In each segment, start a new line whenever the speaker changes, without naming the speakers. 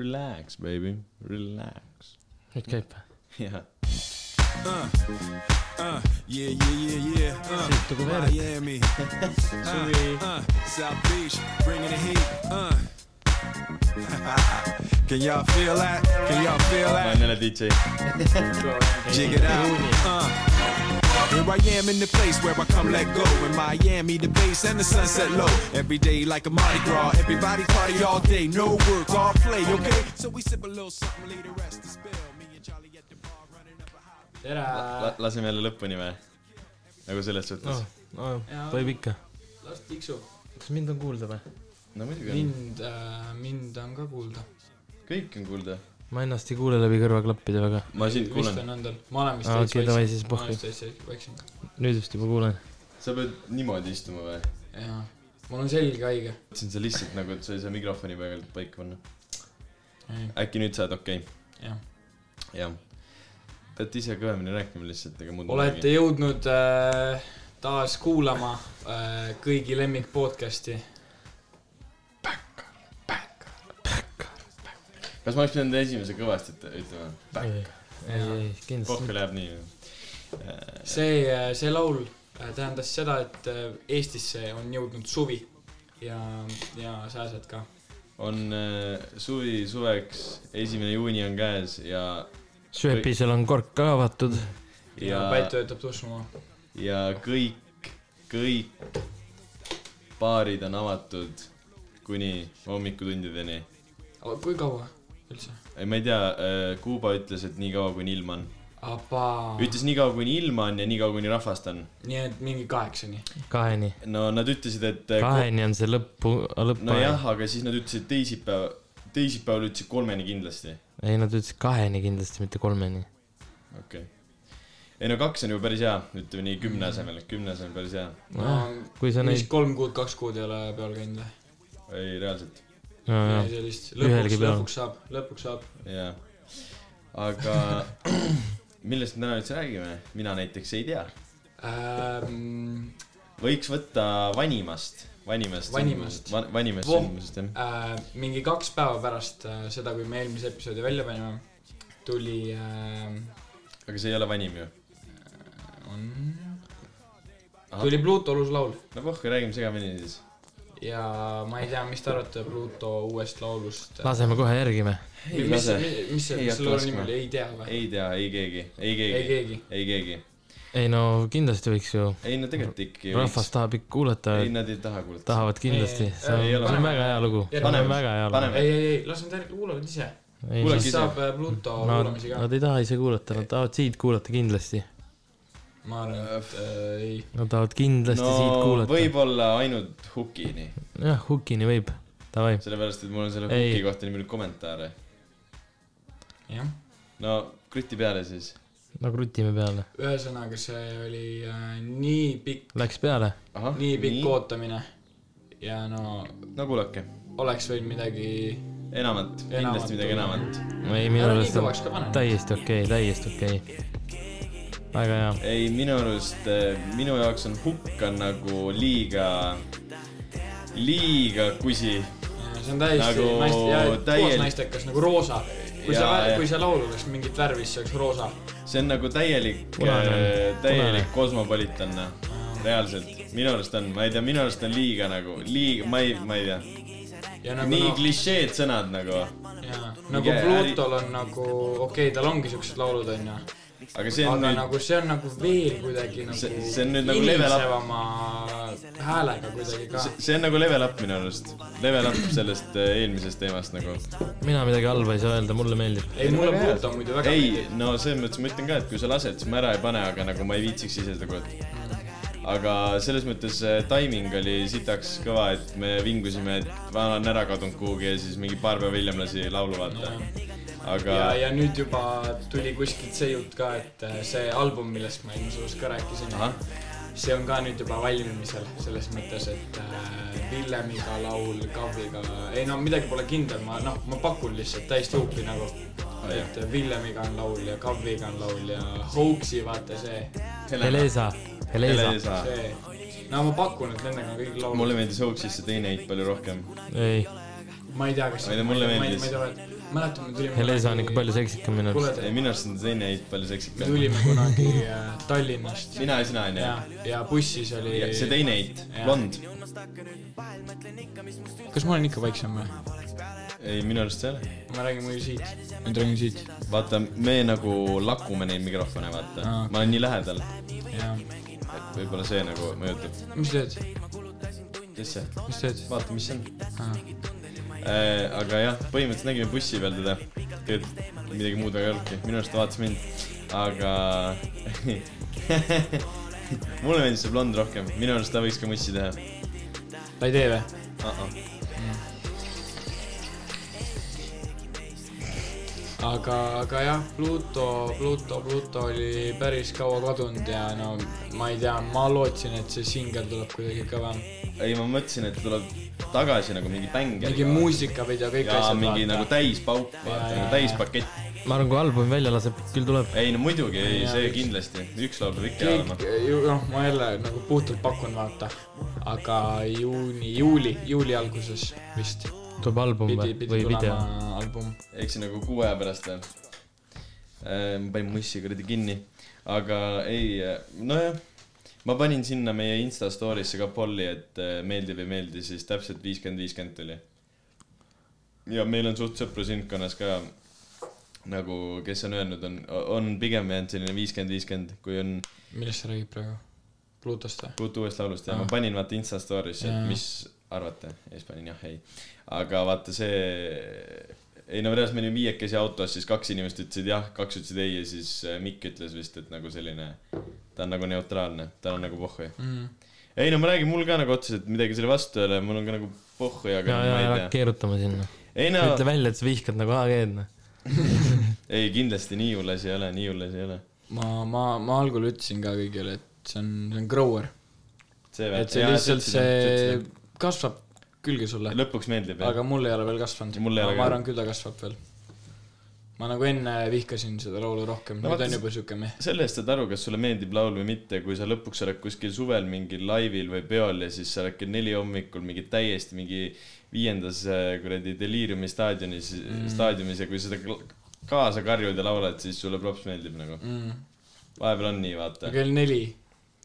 Relax , baby , relax .
nüüd käib või ?
jah ,
Uh, uh, yeah, yeah, yeah, yeah.
Shit, took a
Uh,
minute.
Miami. uh, uh, South Beach, bringing the heat. Uh. Can y'all feel that? Can y'all feel
ma
that?
olen jälle DJ .
Jig it out. Uh. Here I am in the place where I come let go. In Miami, the bass and the sunset low. Every day like a Mardi Gras. Everybody party all day. No work, all play, okay? So we sip a little something, leave the rest to spill. Me and Charlie at the bar running up a high.
tere
laseme jälle lõpuni või ? nagu selles suhtes
noh
Oh.
no. ,,
noh , tohib ikka .
las tiksub .
kas mind on kuulda või ?
no muidugi on ,
mind , mind on ka kuulda .
kõik on kuulda .
ma ennast ei kuule läbi kõrvaklappide väga .
ma sind
vist
kuulen ,
on endal , ma olen vist
Aa, okei, davai, siis
ma olen
puhka.
vist täitsa vaiksem .
nüüd vist juba kuulen .
sa pead niimoodi istuma või ?
jaa , mul on selg haige .
mõtlesin , sa lihtsalt nagu , et sa ei saa mikrofoni peal paika panna .
Ei.
äkki nüüd saad okei okay. ,
jah ,
jah . pead ise kõvemini rääkima lihtsalt , ega muud .
olete jõudnud äh, taas kuulama äh, kõigi lemmik podcast'i .
kas ma oleks pidanud esimese kõvasti üt- ütlema ?
ei , ei , kindlasti
pohhu
mitte .
läheb nii .
see , see laul äh, tähendas seda , et äh, Eestisse on jõudnud suvi ja , ja sääsed ka .
on äh, suvi suveks , esimene juuni on käes ja ,
sööpisel on kork ka avatud .
ja
ja ,
Pätt töötab tussuma .
ja kõik , kõik baarid on avatud kuni hommikutundideni .
kui kaua üldse ?
ei , ma ei tea , Kuuba ütles , et nii kaua , kuni ilm on .
Abaa .
ütles nii kaua , kuni ilma on ja nii kaua , kuni rahvast on .
nii et mingi kaheksani .
kaheni ,
no nad ütlesid , et . äh,
kaheni on see lõppu , lõppaeg
nojah ., aga siis nad ütlesid teisipäev , teisipäeval ütlesid kolmeni kindlasti
ei , nad ütlesid kaheni kindlasti , mitte kolmeni .
okei okay. . ei no kaks on juba päris hea , ütleme nii kümne asemel , kümne asemel päris hea .
no
kui sa
vist
neid ,
Ah, kolm kuud , kaks kuud ei ole peal käinud või ?
ei reaalselt ,
nojah ,
sellist ,
Ühelgi
lõpuks ,
peal.
lõpuks saab , lõpuks saab .
jaa . aga millest me täna üldse räägime , mina näiteks ei tea .
Ähm,
võiks võtta vanimast , vanimast .
Vanimast.
Va, . vanimast
Voh.
sündmusest jah .
äh, mingi kaks päeva pärast äh, seda , kui me eelmise episoodi välja panime , tuli äh, ,
aga see ei ole vanim ju .
on ,
Ah.
Ahah.
tuli Pluto uus laul
no pohhu , räägime segamini siis .
ja ma ei tea , mis te arvate Pluto uuest laulust .
laseme kohe järgi me .
ei
mis
lase. ,
mis see ,
Ei hakka
mis selle laulu
laskma.
nimi oli , ei tea või ?
ei tea , ei keegi , ei
ei
keegi ,
keegi .
ei keegi .
ei no kindlasti võiks ju ,
ei no tegelikult ikkagi
rahvas . tahab ikka kuulata ,
ei , nad ei taha kuulata .
tahavad kindlasti ,
Ei,
see on ,
ei
see
ole.
on väga hea lugu , see on
Paneme.
väga hea lugu
Paneme. .
ei , ei , ei , las nad järgi kuulavad ise .
ei ,
Kuulake
siis
ise.
saab äh, Pluto
nad ,
kuulamisi ka .
nad ei taha ise kuulata , nad tahavad siit kuulata kindlasti .
ma arvan , et äh, ei .
Nad tahavad kindlasti no, siit
no
kuulata .
võib-olla ainult hukini ,
jah , hukini võib , davai .
sellepärast et mul on selle
Ei.
huki kohta nii palju kommentaare
jah ,
no kruti peale siis .
no krutime peale ,
ühesõnaga , see oli äh, nii pikk ,
läks peale .
Ah,
nii pikk nii. . ootamine ja no
no kuulake ,
oleks võinud midagi ,
enamat , kindlasti midagi enamat .
ei , minu
Ära nii
arust on
kõvaks ka pane.
täiesti okei okay, , täiesti okei okay. . väga hea ,
ei , minu arust , minu jaoks on hukk on nagu liiga , liiga kusi .
see on täiesti
Nagu
nagu naist- ja
täiel-
täiel... koos naistekas nagu roosa . kui
Jaa,
sa
jah. ,
kui sa laul oleks mingit värvi , siis see oleks roosa .
see on nagu täielik
Punane. ,
täielik
Punane.
kosmopoliitanna , reaalselt . minu arust on , ma ei tea , minu arust on liiga nagu , liiga , ma ei , ma ei tea .
ja nagu
nii
noh ,
klišeed sõnad nagu ,
jaa , nagu
Mingi
Plutol on nagu , okei okay, , tal ongi siuksed laulud , onju .
aga see on
aga
nüüd ,
nagu see on nagu veel kuidagi nagu
See- see on nüüd nagu level up.
up . häälega kuidagi ka .
see on nagu level up minu arust . Level up sellest eh, eelmisest teemast nagu
mina midagi halba ei saa öelda , mulle meeldib .
ei , mulle
väga hea.
Pluto muidu väga
ei , no selles mõttes ma ütlen ka , et kui sa lased , siis ma ära ei pane , aga nagu ma ei viitsiks ise seda kuulata . aga selles mõttes äh, timing oli sitaks kõva , et me vingusime , et vana on ära kadunud kuhugi ja siis mingi paar päeva hiljem lasi laulu vaata . aga
ja , ja nüüd juba tuli kuskilt see jutt ka , et äh, see album , millest ma eelmises osas ka rääkisin ,
ahah ,
see on ka nüüd juba valmimisel , selles mõttes , et äh, Villemiga laul , Kavviga , ei no midagi pole kindel , ma noh , ma pakun lihtsalt täiesti huupi nagu .
Ah, jah.
et Villemiga on laul ja Kavviga on laul ja Hoaxi vaata see ,
Helena ,
Helesa , Helesa ,
Helesa .
see , no ma pakun , et nendega on kõik laulud .
mulle meeldis Hoax'is see teine heit palju rohkem .
ei ,
ma ei tea , kas
Ma ei tea, mulle meeldis.
ma ei tea , mäletan , me tulime
Helesa on ikka palju seksikam minu
kuule
arust .
ei ,
te ,
minu arust on teine eit palju
me
seksikam .
tulime kunagi äh, Tallinnast
mina ja sina onju
ja , ja bussis oli
Ja see teine eit ,
Jaa.
blond .
kas ma olen ikka vaiksem või ?
ei , minu arust ei ole .
ma räägin muidu siit . nüüd räägin siit .
vaata , me nagu lakume neid mikrofone , vaata
Aa. .
ma olen nii lähedal ,
jaa .
et võib-olla see nagu mõjutab .
mis teed ,
kes see ?
mis teed ?
vaata , mis see on . äh, . aga jah , põhimõtteliselt nägime bussi peal teda . tegelikult midagi muud väga ei olnudki , minu arust ta vaatas mind , aga mulle meeldis see blond rohkem , minu arust ta võiks ka mussi teha
ta ei tee või ?
uh . -uh.
aga , aga jah , Pluto , Pluto , Pluto oli päris kaua kadunud ja no ma ei tea , ma lootsin , et see singel tuleb kuidagi kõvem .
ei , ma mõtlesin , et tuleb tagasi nagu mingi bäng .
mingi muusikapidu ja kõik
ja
asjad .
mingi nagu täispauk , vaata ,
jaa,
nagu
jaa.
täispakett .
ma arvan , kui album välja laseb , küll tuleb .
ei no muidugi , ei
Jaa,
see
üks-
kindlasti , üks laul peab ikka olema
kõik . ju noh , ma jälle nagu puhtalt pakun , vaata , aga juuni , juuli , juuli alguses vist
tuleb album
pidi
või ,
pidi
või video
tulema ? album .
eks see nagu kuu aja pärast veel . ma panin mussi kuradi kinni , aga ei , nojah , ma panin sinna meie Insta story'sse ka polli , et äh, meeldib või ei meeldi , siis täpselt viiskümmend , viiskümmend tuli . ja meil on suht sõprusringkonnas ka nagu , kes on öelnud , on , on pigem jäänud selline viiskümmend , viiskümmend , kui on
millest sa räägid praegu ? Pluutost või ?
Kuut uuest laulust ja ma
Ah.
panin vaata Insta story'sse ,
Jaa.
et mis arvate ja siis panin jah , ei . aga vaata see , ei no reaalselt me olime viiekesi autos , siis kaks inimest ütlesid jah , kaks ütlesid ei ja siis äh, Mikk ütles vist , et nagu selline , ta on nagu neutraalne , tal on nagu pohhu .
mm. ?
ei no ma räägin , mul ka nagu otseselt midagi selle vastu ei ole , mul on ka nagu pohhu , aga
ja ,
ma
ja , ja
ei tea .
keerutama sinna .
ei no ,
ütle välja , et sa vihkad nagu AG-d , noh .
ei kindlasti nii hull asi ei ole , nii hull asi ei ole .
ma , ma , ma algul ütlesin ka kõigile , et see on , see on grower ,
see
et see lihtsalt , see kasvab külge sulle ,
lõpuks meeldib jah .
aga mul ei ole veel kasvanud .
Mul ei
ma
ole
ma
ka.
arvan küll , ta kasvab veel . ma nagu enne vihkasin seda laulu rohkem
No
no, , nüüd
vaata,
on juba siuke meh .
sellest saad aru , kas sulle meeldib laul või mitte , kui sa lõpuks oled kuskil suvel mingil laivil või peol ja siis sa oled kell neli hommikul mingi täiesti mingi viiendas äh, kuradi deliiriumi staadionis mm. , staadiumis ja kui seda kl- kaasa karjud ja laulad , siis sulle props meeldib nagu .
mm. .
vahepeal on nii , vaata .
kell neli ,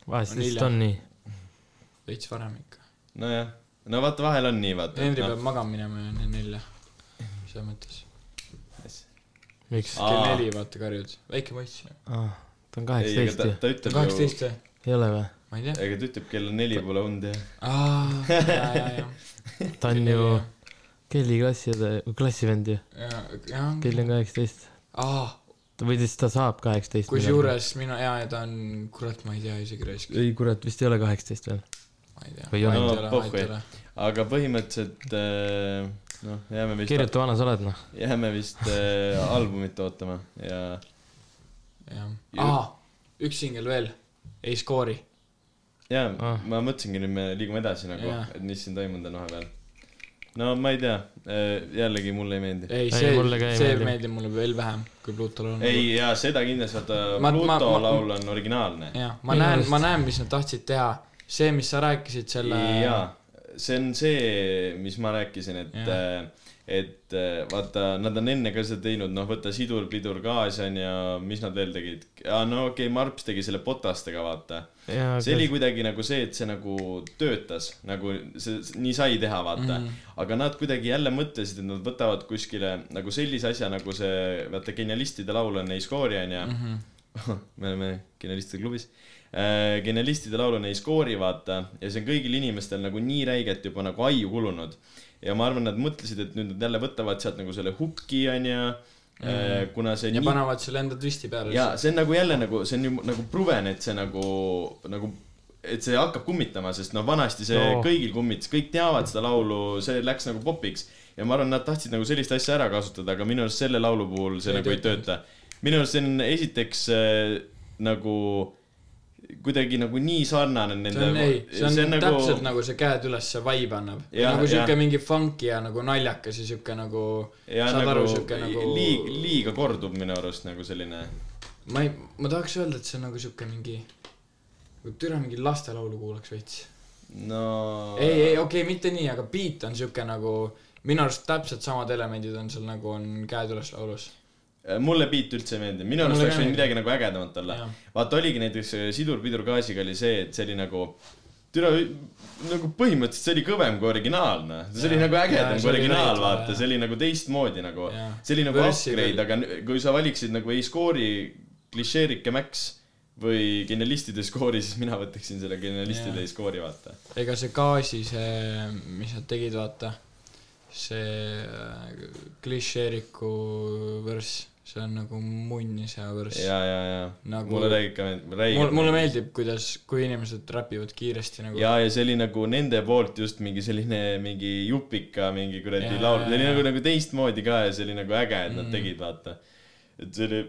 vahest
On
lihtsalt
hilja.
on nii .
veits varem ikka .
nojah , no vaata , vahel on nii , vaata .
Henri peab magama minema ju enne nelja , selles mõttes .
miks ?
Aa.
kell neli vaata karjud , väike poiss .
Ah, ta on
ei , aga
kaheksateist
ta
ju ,,
ta ütleb ju ,
kaheksateist või ?
ei ole või ?
ma ei tea .
ega ta ütleb , kell on neli pole und jah .
aa , ja , ja , ja ,
ta on ju Kelly klassi , klassivend ju .
ja , ja .
Kelly on kaheksateist .
aa ,
või siis ta saab kaheksateist .
Ah, kusjuures mina , jaa , ja ta on , kurat , ma ei tea isegi raisk ,
ei kurat , vist ei ole kaheksateist veel .
ma ei tea .
Või on?
No, pohhui. aga põhimõtteliselt äh, noh , jääme vist ,
kirjuta , vana sa oled , noh .
jääme vist äh, albumit ootama ja
jah ,
Ju-
aa , üks singel veel , ei skoori .
jaa
Ah.
ah. , ma mõtlesingi nüüd me liigume edasi nagu
Jaa.
yeah. , et mis siin toimunud on vahepeal . no ma ei tea , jällegi mulle ei meeldi .
ei ,
Ei,
see
mulle ka , ei
see
meeldi.
meeldib mulle veel vähem kui Pluutol on .
ei jaa , seda kindlasti , vaata
Ma- ma-
Pluto
ma-
laul on originaalne .
jah , ma
Minu
näen ,
arust-
ma näen , mis nad tahtsid teha . see , mis sa rääkisid selle .
jaa , see on see , mis ma rääkisin , et
Jaa. ,
et äh, vaata , nad on enne ka seda teinud , noh , võta sidur , pidur , gaas on ja mis nad veel tegid . aa , no okei okay, , Marps tegi selle potastega , vaata see oli kuidagi nagu see , et see nagu töötas , nagu see , nii sai teha , vaata mm . -hmm. aga nad kuidagi jälle mõtlesid , et nad võtavad kuskile nagu sellise asja , nagu see , vaata genialistide laul on Ei skoori , onju . me oleme genialistide klubis . genialistide laul on Ei skoori , vaata , ja see on kõigil inimestel nagu nii räigelt juba nagu aiu kulunud . ja ma arvan , nad mõtlesid , et nüüd nad jälle võtavad sealt nagu selle hukki , onju . kuna see
ja
nii
panevad selle enda twisti peale .
ja see on nagu jälle nagu , see on ju nagu pruven , et see nagu , nagu , et see hakkab kummitama , sest noh , vanasti see no.
No.
kõigil kummitas , kõik teavad seda laulu , see läks nagu popiks . ja ma arvan , nad tahtsid nagu sellist asja ära kasutada , aga minu arust selle laulu puhul see
Ei
ei nagu ei tööta . minu arust see on esiteks äh, nagu kuidagi nagu nii sarnane nende .
see on ei , see on, see on nagu... täpselt nagu see käed üles vibe annab .
Jah,
nagu siuke
jah.
mingi funky ja nagu naljakas ja siuke nagu ,
ja
saad
nagu,
aru ,
nagu
siuke nagu
liiga , liiga kordub minu arust nagu selline .
ma ei , ma tahaks öelda , et see on nagu siuke mingi , nagu türa mingi lastelaulu kuulaks veits .
no .
ei , ei okei okay, , mitte nii , aga beat on siuke nagu minu arust täpselt samad elemendid on seal nagu on Käed üles laulus .
Äh, mulle beat üldse ei meeldinud , minu arust
Mulle
oleks
ka
võinud
mitte.
midagi nagu ägedamat olla
Jah. .
vaata , oligi näiteks äh, sidurpidurgaasiga oli see , et see oli nagu , türa , nagu põhimõtteliselt see oli kõvem kui originaalne . see oli
Jah.
nagu
Jah,
ägedam
see
kui
oli
originaal ,
veidra,
vaata ,
jah.
see oli nagu teistmoodi nagu
Jah. ,
see oli nagu
Versi
upgrade ,
veel.
aga n- kui sa valiksid nagu ei skoori klišeerike Max või genialistide skoori , siis mina võtaksin selle genialistide
Jah.
ei skoori , vaata .
ega see gaasi , see , mis nad tegid , vaata , see äh, klišeeriku värss , see on nagu munnise värss .
ja , ja , ja
Nagu-
mulle räägib ka meeldib ,
mulle ,
räägib .
mulle meeldib , kuidas , kui inimesed räpivad kiiresti nagu .
ja , ja see oli nagu nende poolt just mingi selline mingi jupika mingi kuradi
Jaa,
laul ,
jaa,
see oli
jaa. Mm.
nagu , nagu teistmoodi ka ja see oli nagu äge , et nad tegid , vaata . et see oli ,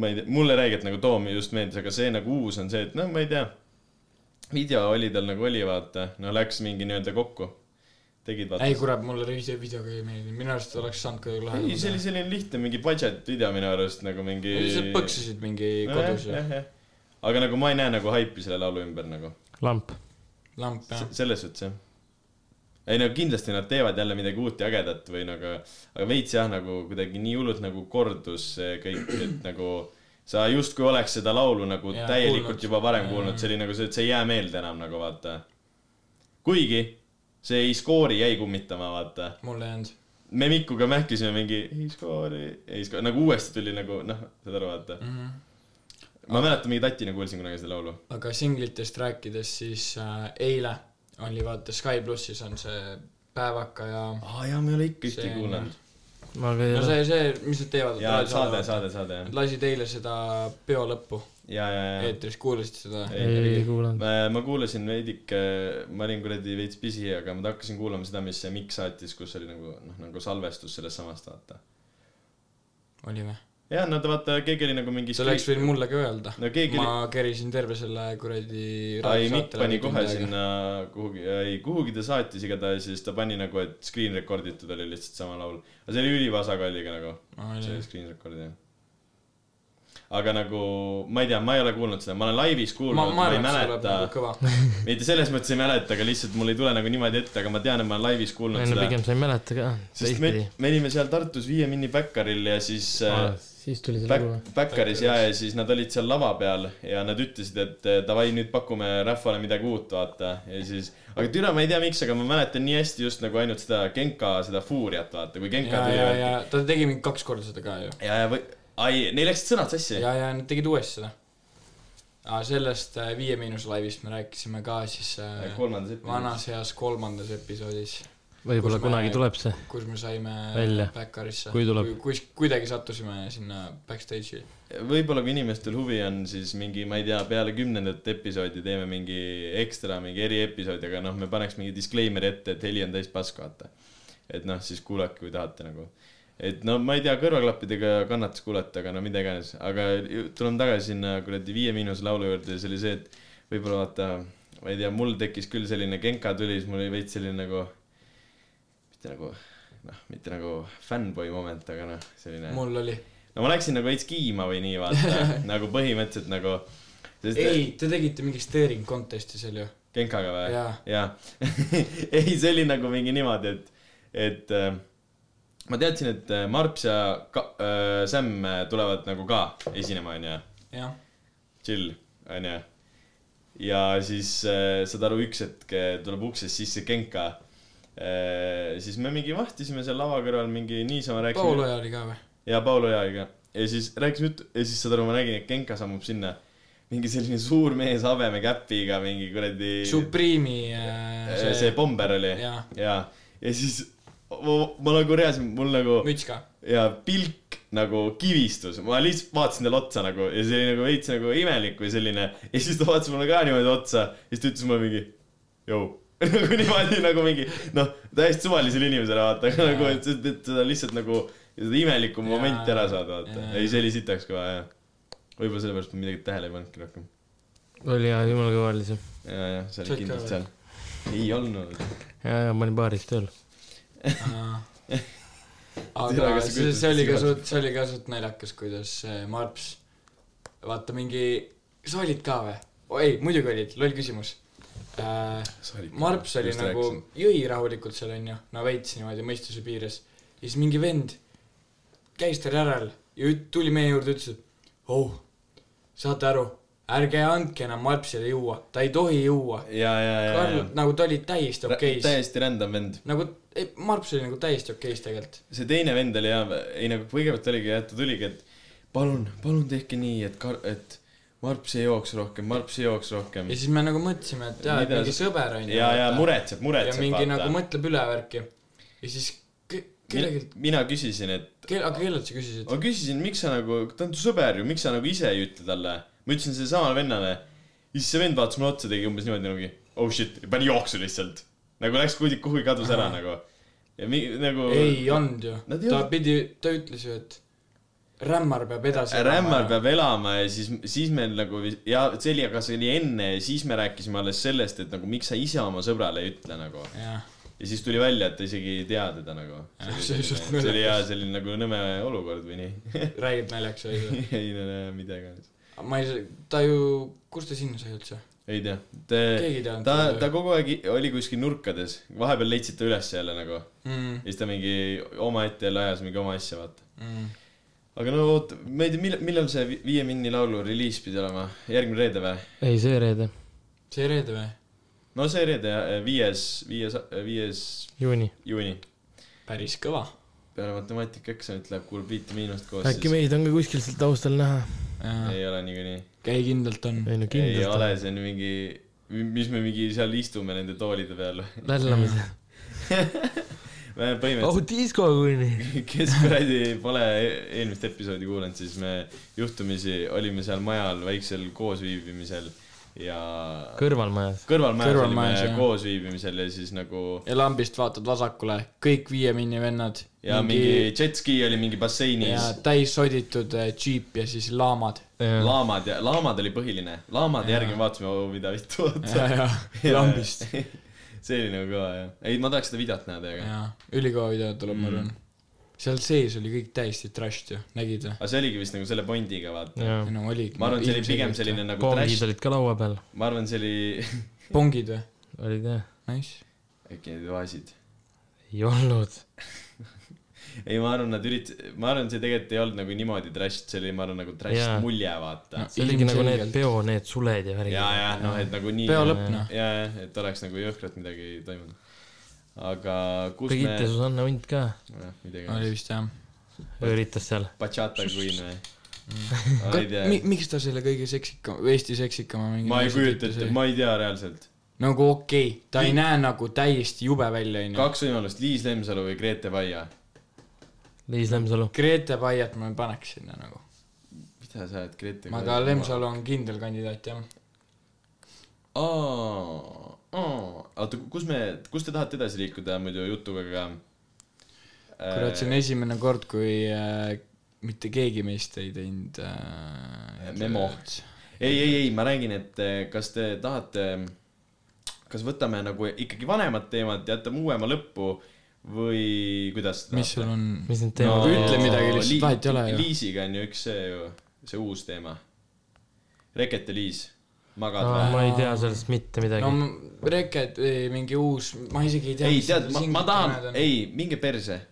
ma ei tea , mulle räägiti nagu Toom just meeldis , aga see nagu uus on see , et noh , ma ei tea . video oli tal nagu oli , vaata , no läks mingi nii-öelda kokku . tegid vaata
ei . kurat , mulle see video ka ei meeldinud , minu arust oleks saanud kuidagi
ei , see oli
lahendada .
selline lihtne mingi budget video minu arust nagu mingi .
sa põksusid mingi kodus ja
jah , jah . aga nagu ma ei näe nagu haipi selle laulu ümber nagu
lamp .
lamp ja
Se- selles suhtes jah . ei no kindlasti nad teevad jälle midagi uut ja ägedat või nagu , aga veits jah , nagu kuidagi nii hullult nagu kordus see kõik , et nagu sa justkui oleks seda laulu nagu ja,
Jaa,
täielikult
kuulnud.
kuulnud. juba varem kuulnud , see oli nagu see , et see ei jää meelde enam nagu vaata . kuigi see ei skoori jäi kummitama , vaata .
mulle ei jäänud .
me Mikuga mähkisime mingi ei skoori , ei skoori , nagu uuesti tuli nagu noh , saad aru , vaata mm . -hmm. ma mäletan , mingi tatina kuulsin kunagi seda laulu .
aga singlitest rääkides , siis äh, eile oli vaata Sky plussis on see Päevaka ja
aa jaa , me ei ole ikka ühtegi
See-
kuulanud .
ma ka ei
no
ole .
see , see , mis nad teevad .
jaa , saade , saade , saade jah
Nad lasid eile seda peo lõppu
ja , ja , ja .
eetris , kuulasite seda ?
ei kuulanud .
ma kuulasin veidike , ma olin kuradi veits pisi , aga ma hakkasin kuulama seda , mis see Mikk saatis , kus oli nagu noh , nagu salvestus sellest samast , vaata .
oli või ?
ja nad vaata , keegi oli nagu mingi .
sa oleks võinud mulle ka öelda
No keegi
ma kerisin terve selle kuradi
ei , Mikk pani kohe . sinna kuhugi , ei kuhugi ta saatis igatahes ja siis ta pani nagu , et screen record itud oli lihtsalt sama laul . aga see oli ülivasakaliga nagu , see oli screen record jah aga nagu ma ei tea , ma ei ole kuulnud seda , ma olen laivis
ma ,
kuulnud ,
ma
ma ei
arvan , et see tuleb
mäleta
nagu . kõva .
mitte selles mõttes ei mäleta , aga lihtsalt mul ei tule nagu niimoodi ette , aga ma tean , et ma olen laivis kuulnud
ei no
seda .
pigem sa ei mäleta ka .
sest me , me olime seal Tartus Viie Minni Päkkaril ja siis äh,
siis tuli see lugu või
Päk- , Päkkaris ja , ja siis nad olid seal lava peal ja nad ütlesid , et äh, davai , nüüd pakume rahvale midagi uut , vaata . ja siis , aga türa , ma ei tea miks , aga ma mäletan nii hästi just nagu ainult seda Genka , seda Fuuriat , vaata , kui Genka
ja , ja ,
tuli .
ja ta tegi mingi kaks korda seda ka ju .
ja , ja või , ai , neil läksid sõnad sassi .
ja , ja nad tegid uuesti seda . aga sellest äh, Viie Miinus laivist me rääkisime ka siis äh,
kolmandas episoodis .
vanas heas kolmandas episoodis ,
võib-olla
kus me-
kunagi tuleb see .
kus me saime
Välja.
Backarisse .
Kui tuleb. .
kus , kuidagi sattusime sinna backstage'i .
võib-olla kui inimestel huvi on , siis mingi , ma ei tea , peale kümnendat episoodi teeme mingi ekstra , mingi eriepisoodi , aga noh , me paneks mingi disclaimer'i ette , et heli on täis pask , vaata . et noh , siis kuulake , kui tahate nagu . et no ma ei tea , kõrvaklappidega kannatas kuulata , aga no mida iganes , aga ju- tuleme tagasi sinna kuradi Viie Miinuse laulu juurde ja see oli see , et võib-olla vaata , ma ei tea , mul tekkis küll selline Genka tuli , siis mul oli veits selline nagu , mitte nagu noh , mitte nagu fännboi moment , aga noh , selline
mul oli .
no ma läksin nagu veits kiima või nii vaata , nagu põhimõtteliselt nagu , sest
ei , te tegite mingi steering contest'i seal ju .
Genkaga või
jaa ,?
jaa . ei , see oli nagu mingi niimoodi , et , et äh, ma teadsin , et äh, Marps ja Ka- äh, Sam äh, tulevad nagu ka esinema , onju ,
jah .
chill , onju . ja siis äh, saad aru , üks hetk äh, tuleb uksest sisse Genka . siis me mingi vahtisime seal lava kõrval mingi niisama rääkisime .
Paul Oja oli ka või ?
ja Paul Ojaga . ja siis rääkis juttu ja siis saad aru , ma nägin , et Genka sammub sinna . mingi selline suur mees habemekäpiga , mingi kuradi .
Supreme'i äh,
see, see pomber oli . ja
jaa ,
ja , ja siis ma, ma nagu reaalselt , mul nagu
müts ka .
ja pilk nagu kivistus , ma lihtsalt vaatasin talle otsa nagu ja see oli nagu veits nagu imelik või selline . ja siis ta vaatas mulle ka niimoodi otsa ja siis ta ütles mulle mingi , jõu . nagu niimoodi nagu mingi noh , täiesti suvalisele inimesele vaata , aga nagu , et , et et seda lihtsalt nagu , seda imelikku
Jaa.
momenti ära saada vaata
Jaa. .
ei , see oli sitaks kõva jah . võib-olla sellepärast ma midagi tähele ei pannudki rohkem .
oli jaa , jumala kõva oli see .
ja , ja see
Said
oli
ka
kindlasti
või?
seal . ei olnud .
jaa , jaa , ma olin baaris tööl .
aga
Tere, kas sa
see , see
kujutad
oli ka
seda?
suht , see oli ka suht naljakas , kuidas see Marps , vaata mingi , sa olid ka või ? ei , muidugi olid , loll küsimus .
Sorry.
Marps oli
Just
nagu
rääkisin. ,
jõi rahulikult seal onju , no veits niimoodi mõistuse piires . ja siis mingi vend käis tal järel ja üt- tuli meie juurde , ütles , et oh , saate aru , ärge andke enam Marpsile juua , ta ei tohi juua .
ja , ja , ja ,
Karl
ja .
nagu ta oli täiesti okeis ,
täiesti rändam vend .
nagu ei, Marps oli nagu täiesti okeis tegelikult .
see teine vend oli hea , ei nagu kõigepealt oligi jah , ta tuligi , et palun , palun tehke nii , et kar- , et Marps ei jooks rohkem , Marps ei jooks rohkem
ja . siis me nagu mõtlesime , et jaa ,
Mm.
et
Mida
mingi
sa-
sõber onju .
ja , ja muretseb ,
ja
muretseb .
mingi nagu mõtleb üle värki . ja siis ke- , kellelgi ,
mina küsisin , et
kelle , aga kellelt sa küsisid ?
ma küsisin , miks sa nagu , ta on su sõber ju , miks sa nagu ise ei ütle talle ? ma ütlesin sellele samale vennale . ja siis see vend vaatas mulle otsa , tegi umbes niimoodi nagu oh shit , pani jooksu lihtsalt . nagu läks kuhugi , kuhugi kadus ära nagu . ja mi, nagu .
ei olnud ju
Nad , ei
ta
olnud.
pidi , ta ütles ju , et rämmar peab edasi .
Rämmar . peab elama ja siis , siis meil nagu ja see oli , aga see oli enne ja siis me rääkisime alles sellest , et nagu miks sa ise oma sõbrale ei ütle nagu .
jah ,
ja siis tuli välja , et ta isegi ei tea teda nagu .
Jah, Ah, see oli suht
see oli
naljakas.
hea selline nagu nõme olukord või nii .
räägid naljaks või ei ?
ei no näe midagi .
ma ei , ta ju , kust ta sinna sai üldse ?
ei tea . Te...
keegi ei teadnud .
ta , ta kogu aeg i- oli kuskil nurkades , vahepeal leidsid ta üles jälle nagu .
Mm,
ja siis ta mingi omaette jälle ajas mingi oma asja , vaata .
mm.
aga no oot , ma ei tea , millal , millal see Vi- Viie Minni laulu reliis pidi olema , järgmine reede või ?
ei , see reede ,
see reede või ?
no see reede , eh, viies , viies , viies
juuni .
juuni .
päris kõva .
peale matemaatikaeksamit läheb kuulab viite miinust koos
äkki
siis .
meid on ka kuskil seal taustal näha ?
ei ole niikuinii .
käi kindlalt on .
ei no
ei ole ,
kindlasti .
see on mingi , mis me mingi seal istume nende toolide peal .
lällame seal .
põhimõtteliselt
oh , diskokuni .
kes kuradi pole e- eelmist episoodi kuulanud , siis me juhtumisi olime seal majal väiksel koosviibimisel ja
kõrvalmajas .
kõrvalmajas
Kõrvalmajas,
olime
jah.
koosviibimisel ja siis nagu
ja lambist vaatad vasakule , kõik viie mini vennad .
ja mingi jetski oli mingi
ja
basseinis ,
täis soditud äh, džiip ja siis laamad .
jah ,
laamad ja laamad oli põhiline , laamade järgi me vaatasime , oo mida vittu , oota .
ja , ja lambist .
see oli nagu kõva jah , ei ma tahaks seda videot näha teiega .
jaa , ülikõva video tuleb mm. , ma arvan . seal sees oli kõik täiesti trashed ju , nägid või ?
aga see oligi vist nagu selle Bondiga vaata .
jah .
no oligi .
ma arvan , see oli pigem selline . nagu
pongid
trash ,
olid ka laua peal ,
ma arvan , see oli ,
pongid või ?
olid jah ?
Nice .
äkki need oasid
ei olnud .
ei , ma arvan , nad ürit- , ma arvan , see tegelikult ei olnud nagu niimoodi trash , see oli , ma arvan , nagu trash yeah.
Jaa.
mulje , vaata
No,
no. .
see oligi nagu need
Ilmselgelt.
peo , need suled ja värgid
ja ., ja noh , et nagu nii .
peo lõpp noh .
ja , ja , et oleks nagu jõhkralt midagi toimunud . aga kus
Brigitte
me ,
Susanne Hunt ka
noh , midagi
oli , vist jah .
üritas seal .
Bachata Queen või ?
Mm.
ma ei tea ,
miks ta selle kõige seksikama , Eesti seksikama mingi
ma ei kujuta ette , ma ei tea reaalselt .
nagu okei okay, , ta ei näe nagu täiesti jube välja , onju .
kaks võimalust , Liis Lemsalu või Grete Vaia .
Liis Lemsalu .
Grete Paiat ma ei paneks sinna nagu .
mida sa oled Grete ?
aga Lemsalu on kindel kandidaat jah .
aa , aa , oota , kus me , kus te tahate edasi liikuda muidu jutuga ka ?
kurat ,
Äh,
see on esimene kord , kui äh, mitte keegi meist ei teinud äh,
Memo. Äh, ei , ei , ei , ma räägin , et eh, kas te tahate , kas võtame nagu ikkagi vanemad teemad , jätame uuema lõppu või kuidas ?
mis sul on ?
mis need
No,
teemad
ütle midagi lihtsalt, vahet ei ole ju.
Liisiga on ju üks see ju , see uus teema . Rekete Liis , magad
no, ?
või ?
ma ei tea sellest mitte midagi
no
no, .
m- Reket , mingi uus , ma isegi ei tea .
ei , tead , ma , ma tahan , ei , minge perse .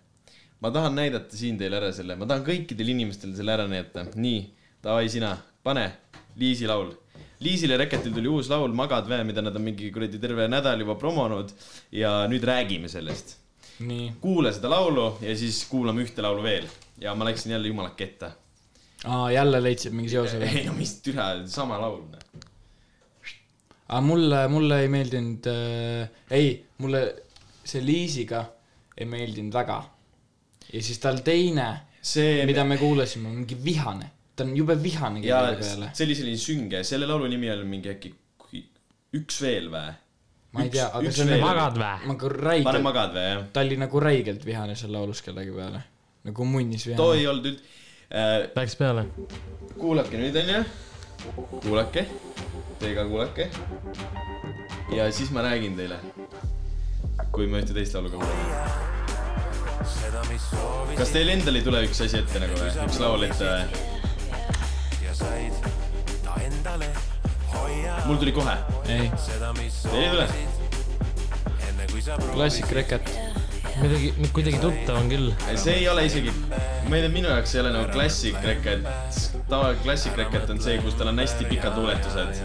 ma tahan näidata siin teile ära selle , ma tahan kõikidel inimestel selle ära näidata . nii , davai sina , pane Liisi laul . Liisil ja Reketil tuli uus laul Magad vä , mida nad on mingi kuradi terve nädal juba promonud ja nüüd räägime sellest .
nii ,
kuula seda laulu ja siis kuulame ühte laulu veel ja ma läksin jälle jumala ketta .
aa , jälle leidsid mingi seose või ?
ei no mis türa , sama laul . noh.
aga mulle , mulle ei meeldinud äh, , ei , mulle see Liisiga ei meeldinud väga . ja siis tal teine ,
see ,
mida me kuulasime , on mingi vihane . ta on jube vihane
ja
kellegi peale .
see oli selline sünge , selle laulu nimi on mingi äkki üks veel vä ?
ma ei tea , aga
üks
see on
veel.
nagu ,
magad vä ?
nagu
pane
räigelt ,
Magad vä , jah
ta oli nagu räigelt vihane seal laulus kellegi peale . nagu munnis
too
vihane .
ei olnud üld- äh, .
Läks peale .
kuulake nüüd onju , kuulake , teie ka kuulake . ja siis ma räägin teile , kui ma ühte teist laulu ka kuulan . kas teil endal ei tule üks asi ette nagu või , üks laul ette või ?
ja said ta endale
mul tuli kohe .
ei ,
Teil ei tule ?
klassik Reket . midagi , kuidagi tuttav on küll .
see ei ole isegi , ma ei tea , minu jaoks ei ole nagu klassikrekett . tava , klassikrekett on see , kus tal on hästi pikad luuletused .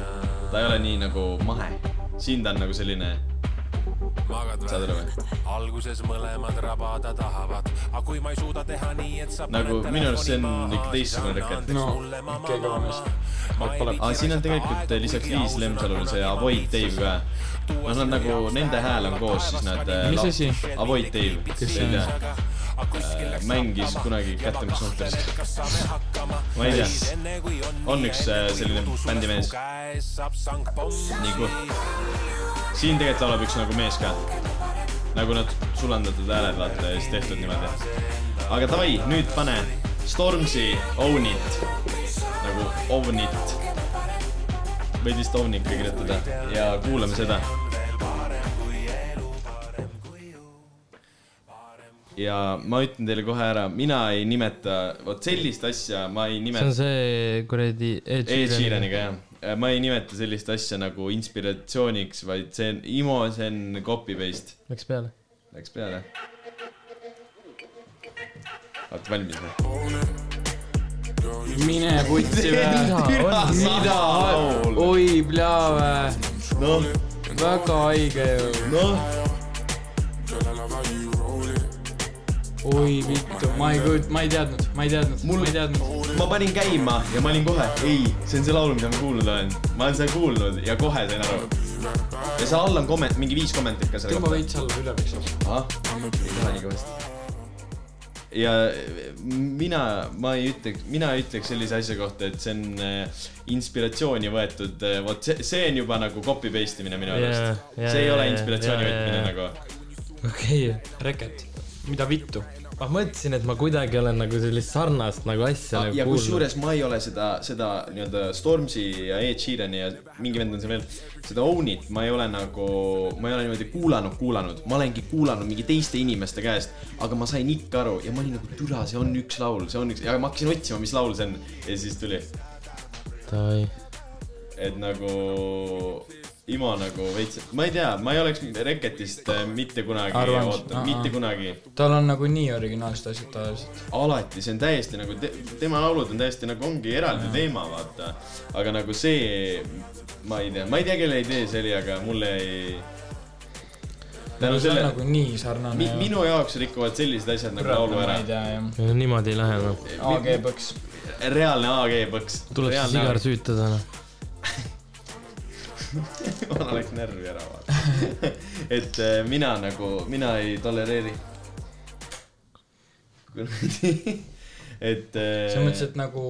ta ei ole nii nagu mahe . siin ta on nagu selline ,
magad
saad aru või ?
alguses mõlemad rabada tahavad , aga kui ma ei suuda teha nii , et sa
Nagu minu arust see on ikka teistsugune reket.
no ikka kõva mees .
aga siin on tegelikult eh, lisaks Liis Lemsalule see Avoid Dave ka . no nad nagu , nende hääl on koos , siis nad .
Mis asi?
Avoid Dave , kes see on ? mängis kunagi Kätte , mis suhtes . ma ei tea , on üks eh, selline bändimees . nii kui . siin tegelikult laulab üks nagu mees ka . nagu nad sulandatud hääled vaata ja siis tehtud niimoodi . aga davai , nüüd pane Stormzy Own It nagu Own It . võid vist Own It ka kirjutada ja kuulame seda . ja ma ütlen teile kohe ära , mina ei nimeta , vot sellist asja ma ei
see on
nimeta ,
see kuradi Ed
Ed
Sheeran .
Sheeraniga jah ma ei nimeta sellist asja nagu inspiratsiooniks , vaid see on , Imo , see on copy paste .
Läks peale .
Läks peale . olete valmis või ?
mine putsi vä .
Ah, mida laul ?
oi pljaa
noh ,
vä , väga haige ju .
noh ,
oi vittu , ma ei kujut- , ma ei teadnud , ma ei teadnud , ma ei teadnud .
ma panin käima ja ma olin kohe , ei , see on see laul , mida ma kuulnud olen . ma olen seda kuulnud ja kohe sain aru . ja seal all on komment , mingi viis kommentaari ka selle
tõmba
kohta .
veits alla üleveks .
ah , ei taha nii kõvasti . ja eh, mina , ma ei ütleks , mina ei ütleks sellise asja kohta , et see on äh, inspiratsiooni võetud , vot see , see on juba nagu copy paste imine minu
Jaa,
arust
jaa,
see ei
jaa,
ole
jaa,
inspiratsiooni
jaa,
võtmine
jaa.
nagu .
okei okay. ,
Reket , mida vittu ?
ma mõtlesin , et ma kuidagi olen nagu sellist sarnast nagu asja
Ah,
nagu
ja
kuulnud .
kusjuures ma ei ole seda , seda nii-öelda Stormzy ja Ed Sheerani ja mingi vend on seal veel , seda Ownit ma ei ole nagu , ma ei ole niimoodi kuulanud , kuulanud , ma olengi kuulanud mingi teiste inimeste käest , aga ma sain ikka aru ja ma olin nagu türa , see on üks laul , see on üks ja ma hakkasin otsima , mis laul see on ja siis tuli ,
davai ,
et nagu Imo nagu veits , ma ei tea , ma ei oleks Reketist äh, mitte kunagi
Arvanud.
ootanud ,
Aa.
mitte kunagi
tal on nagunii originaalsed asjad tavaliselt .
alati , see on täiesti nagu te, , tema laulud on täiesti nagu ongi eraldi teema , vaata . aga nagu see , ma ei tea , ma ei tea , kelle idee see oli , aga mulle ei . tänu
see on
selle ,
nagunii sarnane
mi, . minu jaoks rikuvad sellised asjad nagu laulu
ma
ära
ei . tea jah .
niimoodi ei lähe noh .
AG Põks .
reaalne AG põks .
tuleb see sigar süütada noh .
ma läks närvi ära vaata . et eh, mina nagu , mina ei tolereeri . kuradi , et . äh,
selles mõttes , et nagu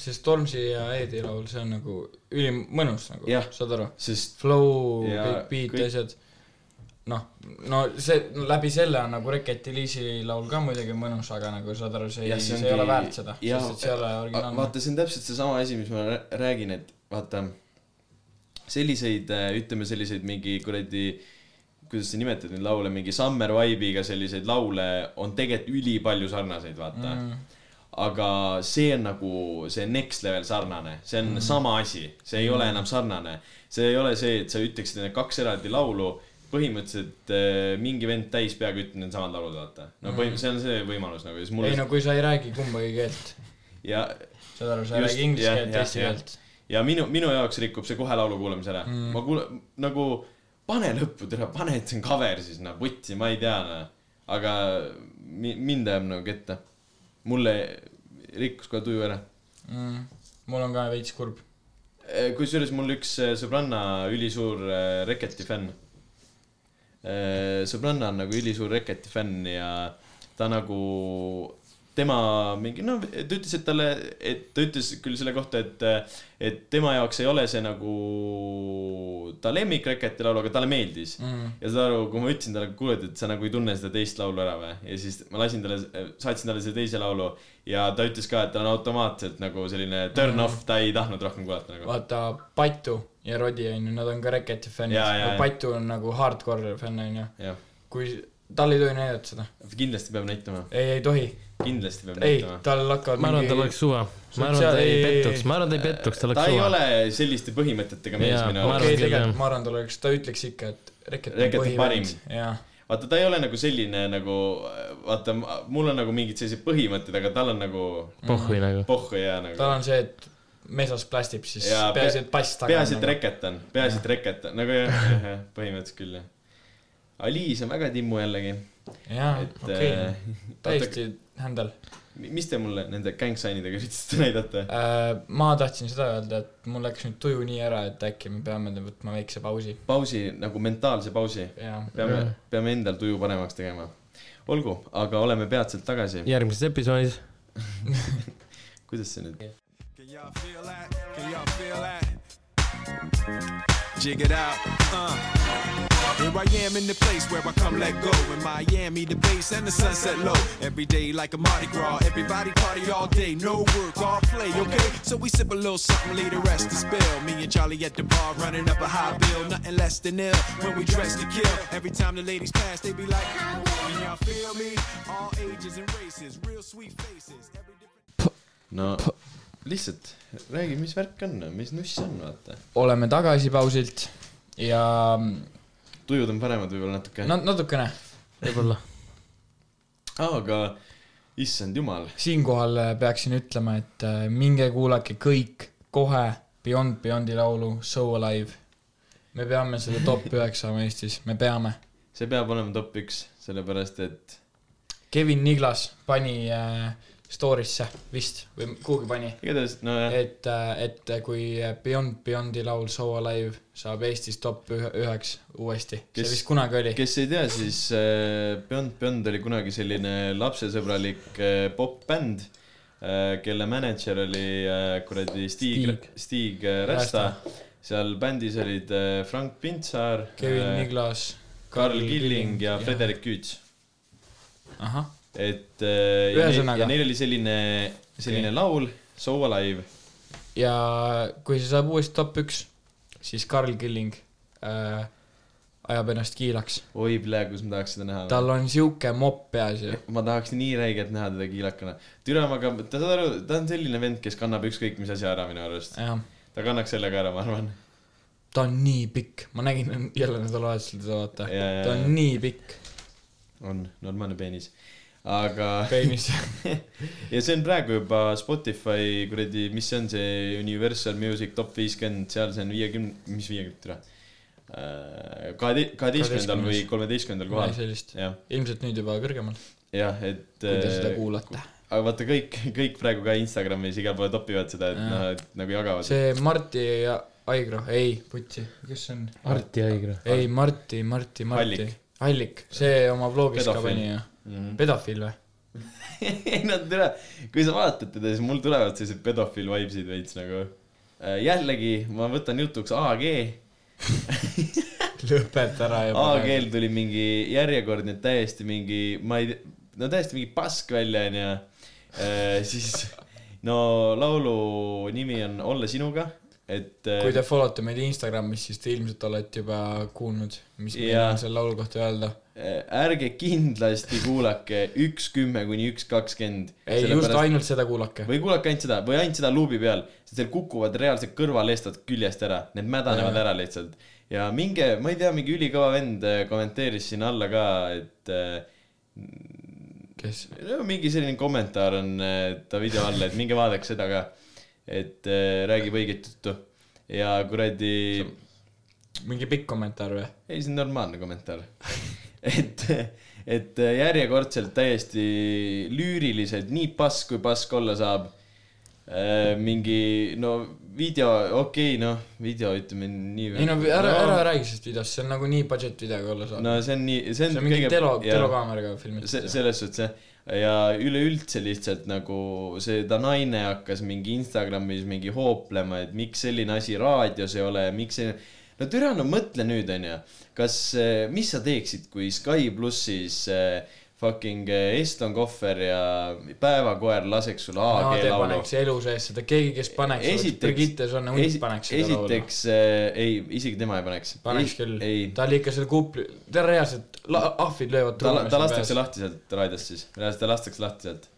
see Stormzy ja Edi laul , see on nagu ülim mõnus nagu
Jah. ,
saad aru ?
sest
Flow ,
Ja
kõik
kõik-
beat kõik... , asjad . noh , no see , läbi selle on nagu Reketi Liisi laul ka muidugi mõnus , aga nagu saad aru , see
Jah,
ei ,
see
see
ongi-
ei ole väärt seda ,
jaa,
sest et see ei ole
A-
originaalne .
vaata , see on täpselt seesama asi , mis ma rää- räägin , et vaata selliseid , ütleme selliseid mingi kuradi , kuidas sa nimetad neid laule , mingi summer vibe'iga selliseid laule on tegelikult ülipalju sarnaseid , vaata mm. . aga see on nagu see next level sarnane , see on mm. sama asi , see ei ole enam sarnane . see ei ole see , et sa ütleksid need kaks eraldi laulu , põhimõtteliselt eh, mingi vend täis peaga ütleb need samad laulud , vaata . no põhimõtteliselt see on see võimalus nagu , siis
ei
mulle
no kui sa ei räägi kumbagi keelt ,
ja
saad aru , sa ei
Just,
räägi inglise
jah,
keelt ,
jah,
eesti
jah.
keelt .
ja minu , minu jaoks rikub see kohe laulu kuulamise ära mm. . ma kuule- , nagu pane lõppu , tere , pane , et see on cover siis , noh , vutsi , ma ei tea , noh . aga mi- , mind ajab nagu kette . mulle rikkus kohe tuju ära .
Mm. mul on ka veits kurb .
kusjuures mul üks eh, sõbranna , ülisuur eh, Reketi fänn . sõbranna on nagu ülisuur Reketi fänn ja ta nagu , tema mingi , no ta ütles , et talle , et ta ütles küll selle kohta , et , et tema jaoks ei ole see nagu ta lemmik Reketi laul , aga talle meeldis mm. . ja saad aru , kui ma ütlesin talle , kuule , et sa nagu ei tunne seda teist laulu ära või , ja siis ma lasin talle , saatsin talle selle teise laulu ja ta ütles ka , et tal on automaatselt nagu selline turn off , ta ei tahtnud rohkem kuulata nagu .
vaata , Patu ja Rodi on ju , nad on ka Reketi fännid
Jaa, jaa, , jaa.
Patu on nagu hardcore fänn on ju
jah ,
kui tal ei tohi näidata seda .
kindlasti peab näitama ,
ei , ei tohi .
kindlasti peab
ei
näitama ,.
tal hakkavad
ma arvan , tal oleks suva . ma arvan , ta ei pettuks , ma arvan , ta ei pettuks ,
ta
tal oleks
ei
suva .
ole selliste põhimõtetega mees
Jaa,
minu
ma
arvates
arvan
okei ,
küll, jah.
tegelikult ma arvan , tal oleks , ta ütleks ikka , et reket on
Reket on parim.
põhivend. jah ,
vaata , ta ei ole nagu selline nagu , vaata , mul on nagu mingid sellised põhimõtted , aga tal on nagu
pohhui nagu .
pohhu ja nagu
Mm. tal on see , et mesas plastib , siis
Jaa, pe-
peaasi , et pass taga nagu-
peaasi , et . reketan , peaasi , et reketan , nagu jah , jah , jah , põhimõtteliselt küll jah . Aliis on väga timmu jällegi ,
jaa ,
et
Ah, okei ,
äh,
täiesti händel .
mi- mis te mulle nende gängsainidega üritasite näidata ?
Äh, ma tahtsin seda öelda , et mul läks nüüd tuju nii ära , et äkki me peame võtma väikse pausi .
pausi , nagu mentaalse pausi ,
jah ,
peame , peame endal tuju paremaks tegema . olgu , aga oleme peatselt tagasi .
järgmises episoodis .
kuidas see nüüd ?
Can y'all feel that? Can y'all feel that? Jig it out. Uh. Here I am in the place where I come let go. In Miami, the bass and the sunset low. Every day like a Mardi Gras. Everybody party all day. No work, all play, okay? So we sip a little something, leave the rest to spill. Me and Charlie at the bar running up a high bill. Nothing less than ill when we dress to kill. Every time the ladies pass, they be like, Can y'all feel me? All ages and races, real sweet faces. Every different
no lihtsalt räägi , mis värk on , mis nuss on , vaata .
oleme tagasi pausilt ja
tujud on paremad võib-olla natuke
no natukene
võib-olla .
ah, , aga issand jumal ,
siinkohal äh, peaksin ütlema , et äh, minge kuulake kõik kohe Beyond Beyondi laulu So Alive . me peame selle top üheks saama Eestis , me peame .
see peab olema top üks , sellepärast et
Kevin Niglas pani äh, story'sse vist või kuhugi pani ,
igatahes nojah ,
et , et kui Beyond Beyondi laul So Alive saab Eestis top ühe- üheks uuesti ,
Kes-
see vist kunagi oli .
kes ei tea , siis äh, Beyond Beyond oli kunagi selline lapsesõbralik äh, popbänd äh, , kelle mänedžer oli äh, kuradi Stig
Stig. ,
Stig äh, Rästa . seal bändis olid äh, Frank Pintsaar ,
Kevin Niglas .
Karl Killing ja . Frederik Küüts
ahah ,
et äh, ja neil-
Ühesõnaga.
ja neil oli selline , selline okay. laul , So Alive ,
ja kui see saab uuesti top üks , siis Karl Killing äh, ajab ennast kiilaks .
oi plee , kus ma tahaks seda näha .
tal on sihuke mopp peas ju .
ma tahaks nii räigelt näha teda kiilakana . türa , aga ta saad aru , ta on selline vend , kes kannab ükskõik mis asja ära minu arust .
jah ,
ta kannaks selle ka ära , ma arvan .
ta on nii pikk , ma nägin jälle nädalavahetusel teda vaata ,
Jaa, jaa,
ta on
jaa.
nii pikk
on normaalne peenis . aga ,
peenis .
ja see on praegu juba Spotify kuradi , mis see on see Universal Music Top viiskümmend , seal see on viiekümne , mis viiekümne , türa . kahe , kaheteistkümnendal või kolmeteistkümnendal
midagi
kohal ,
sellist ,
jah
ilmselt nüüd juba kõrgemal ,
jah , et
kui te seda
äh,
kuulate .
aga vaata kõik , kõik praegu ka Instagramis igal pool topivad seda , et
Jaa.
noh , et nagu jagavad .
see Marti ja Aigro , ei , putsi , kes see on ?
Arti Haigla .
ei , Marti , Marti , Marti
Allik. .
Allik , see oma blogis ka
Pedofiil.
pani ju , pedofiil või ?
ei no tere , kui sa vaatad teda , siis mul tulevad sellised pedofiil vibe'id veits nagu . jällegi ma võtan jutuks AG ,
lõpeta ära juba .
AG-l tuli mingi järjekordne täiesti mingi , ma ei tea , no täiesti mingi pask välja onju . siis no laulu nimi on Olla sinuga , et . äh,
kui te follow te meid Instagramis , siis te ilmselt olete juba kuulnud , mis meil
Jaa.
on selle laulu kohta öelda .
Äh, ärge kindlasti kuulake üks kümme kuni üks kakskümmend .
ei , just ainult seda kuulake .
või kuulake ainult seda või ainult seda luubi peal , sest teil kukuvad reaalselt kõrvalestad küljest ära , need mädanevad
Jaa.
ära lihtsalt . ja minge , ma ei tea , mingi ülikõva vend äh, kommenteeris sinna alla ka , et
kes ?
äh, no mingi selline kommentaar on äh, ta video all , et minge vaadake seda ka . et äh, räägib õiget juttu ja kuradi ,
mingi pikk kommentaar või ?
ei see on normaalne kommentaar . et , et äh, järjekordselt täiesti lüüriliselt , nii pask kui pask olla saab Äh, mingi no video , okei okay, , noh , video ütleme nii .
ei no ära , ära . räägi sellest videost , see on nagu nii budget video , kui olla saab no, .
no see on nii , see on .
see on mingi telo , telokaameraga filmitud
se- . selles suhtes jah , ja üleüldse lihtsalt nagu see ta naine hakkas mingi Instagramis mingi hooplema , et miks selline asi raadios ei ole ja miks selline . no eh, türa , no mõtle nüüd onju , kas , mis sa teeksid , kui Sky plussis äh, fucking eh, Eston kohver ja päevakoer laseks sulle
Ade
AG laulu
paneks elu sees seda , keegi , kes paneks , Brigitte Sonne Hunt
esi-
paneks seda laulu .
esiteks äh, ei , isegi tema ei paneks .
paneks küll
ei ,,
ta oli ikka selle kupli , ta reaalselt , ahvid löövad
ta , ta lastakse . lahti sealt raadiost siis , reaalselt ta lastakse lahti sealt .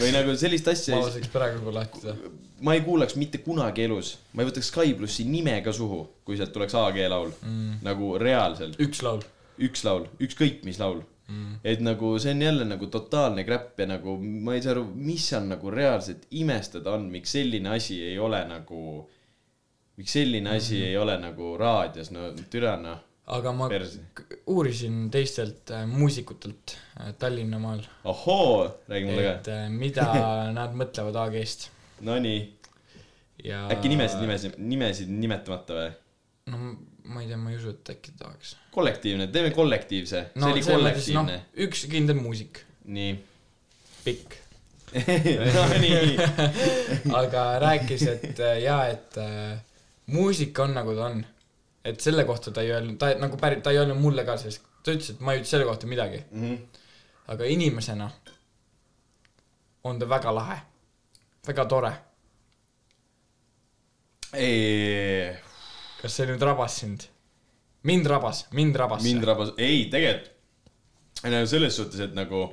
või nagu sellist asja
ma
ei ,
laseks praegu lahti seda .
ma ei kuulaks mitte kunagi elus , ma ei võtaks Sky plussi nime ka suhu , kui sealt tuleks AG laul mm. , nagu reaalselt ,
üks laul .
üks laul , ükskõik mis laul mm. . et nagu see on jälle nagu totaalne crap ja nagu ma ei saa aru , mis seal nagu reaalselt imestada on , miks selline asi ei ole nagu , miks selline asi mm. ei ole nagu raadios , no türa noh ,
aga ma
perse .
k- uurisin teistelt äh, muusikutelt äh, Tallinnamaal ,
ohoo , räägi mulle
et
ka .
äh, mida nad mõtlevad AG-st
Nonii ,
ja
äkki nimesid , nimesid , nimesid nimetamata või ?
no ma ei tea , ma ei usu , et äkki tahaks .
kollektiivne , teeme kollektiivse no, ,
no
see oli
selles mõttes noh
kollektiivne ,,
üks kindel muusik ,
nii .
pikk ,
Nonii ,
aga rääkis , et äh, jaa , et äh, muusika on nagu ta on . et selle kohta ta ei öelnud , ta nagu päri- , ta ei öelnud mulle ka sellest , ta ütles , et ma ei ütle selle kohta midagi ,
Mhm.
aga inimesena on ta väga lahe , väga tore .
ei ,
kas see nüüd rabas sind ? mind rabas , mind rabas
mind
see .
rabas , ei tegelikult , selles suhtes , et nagu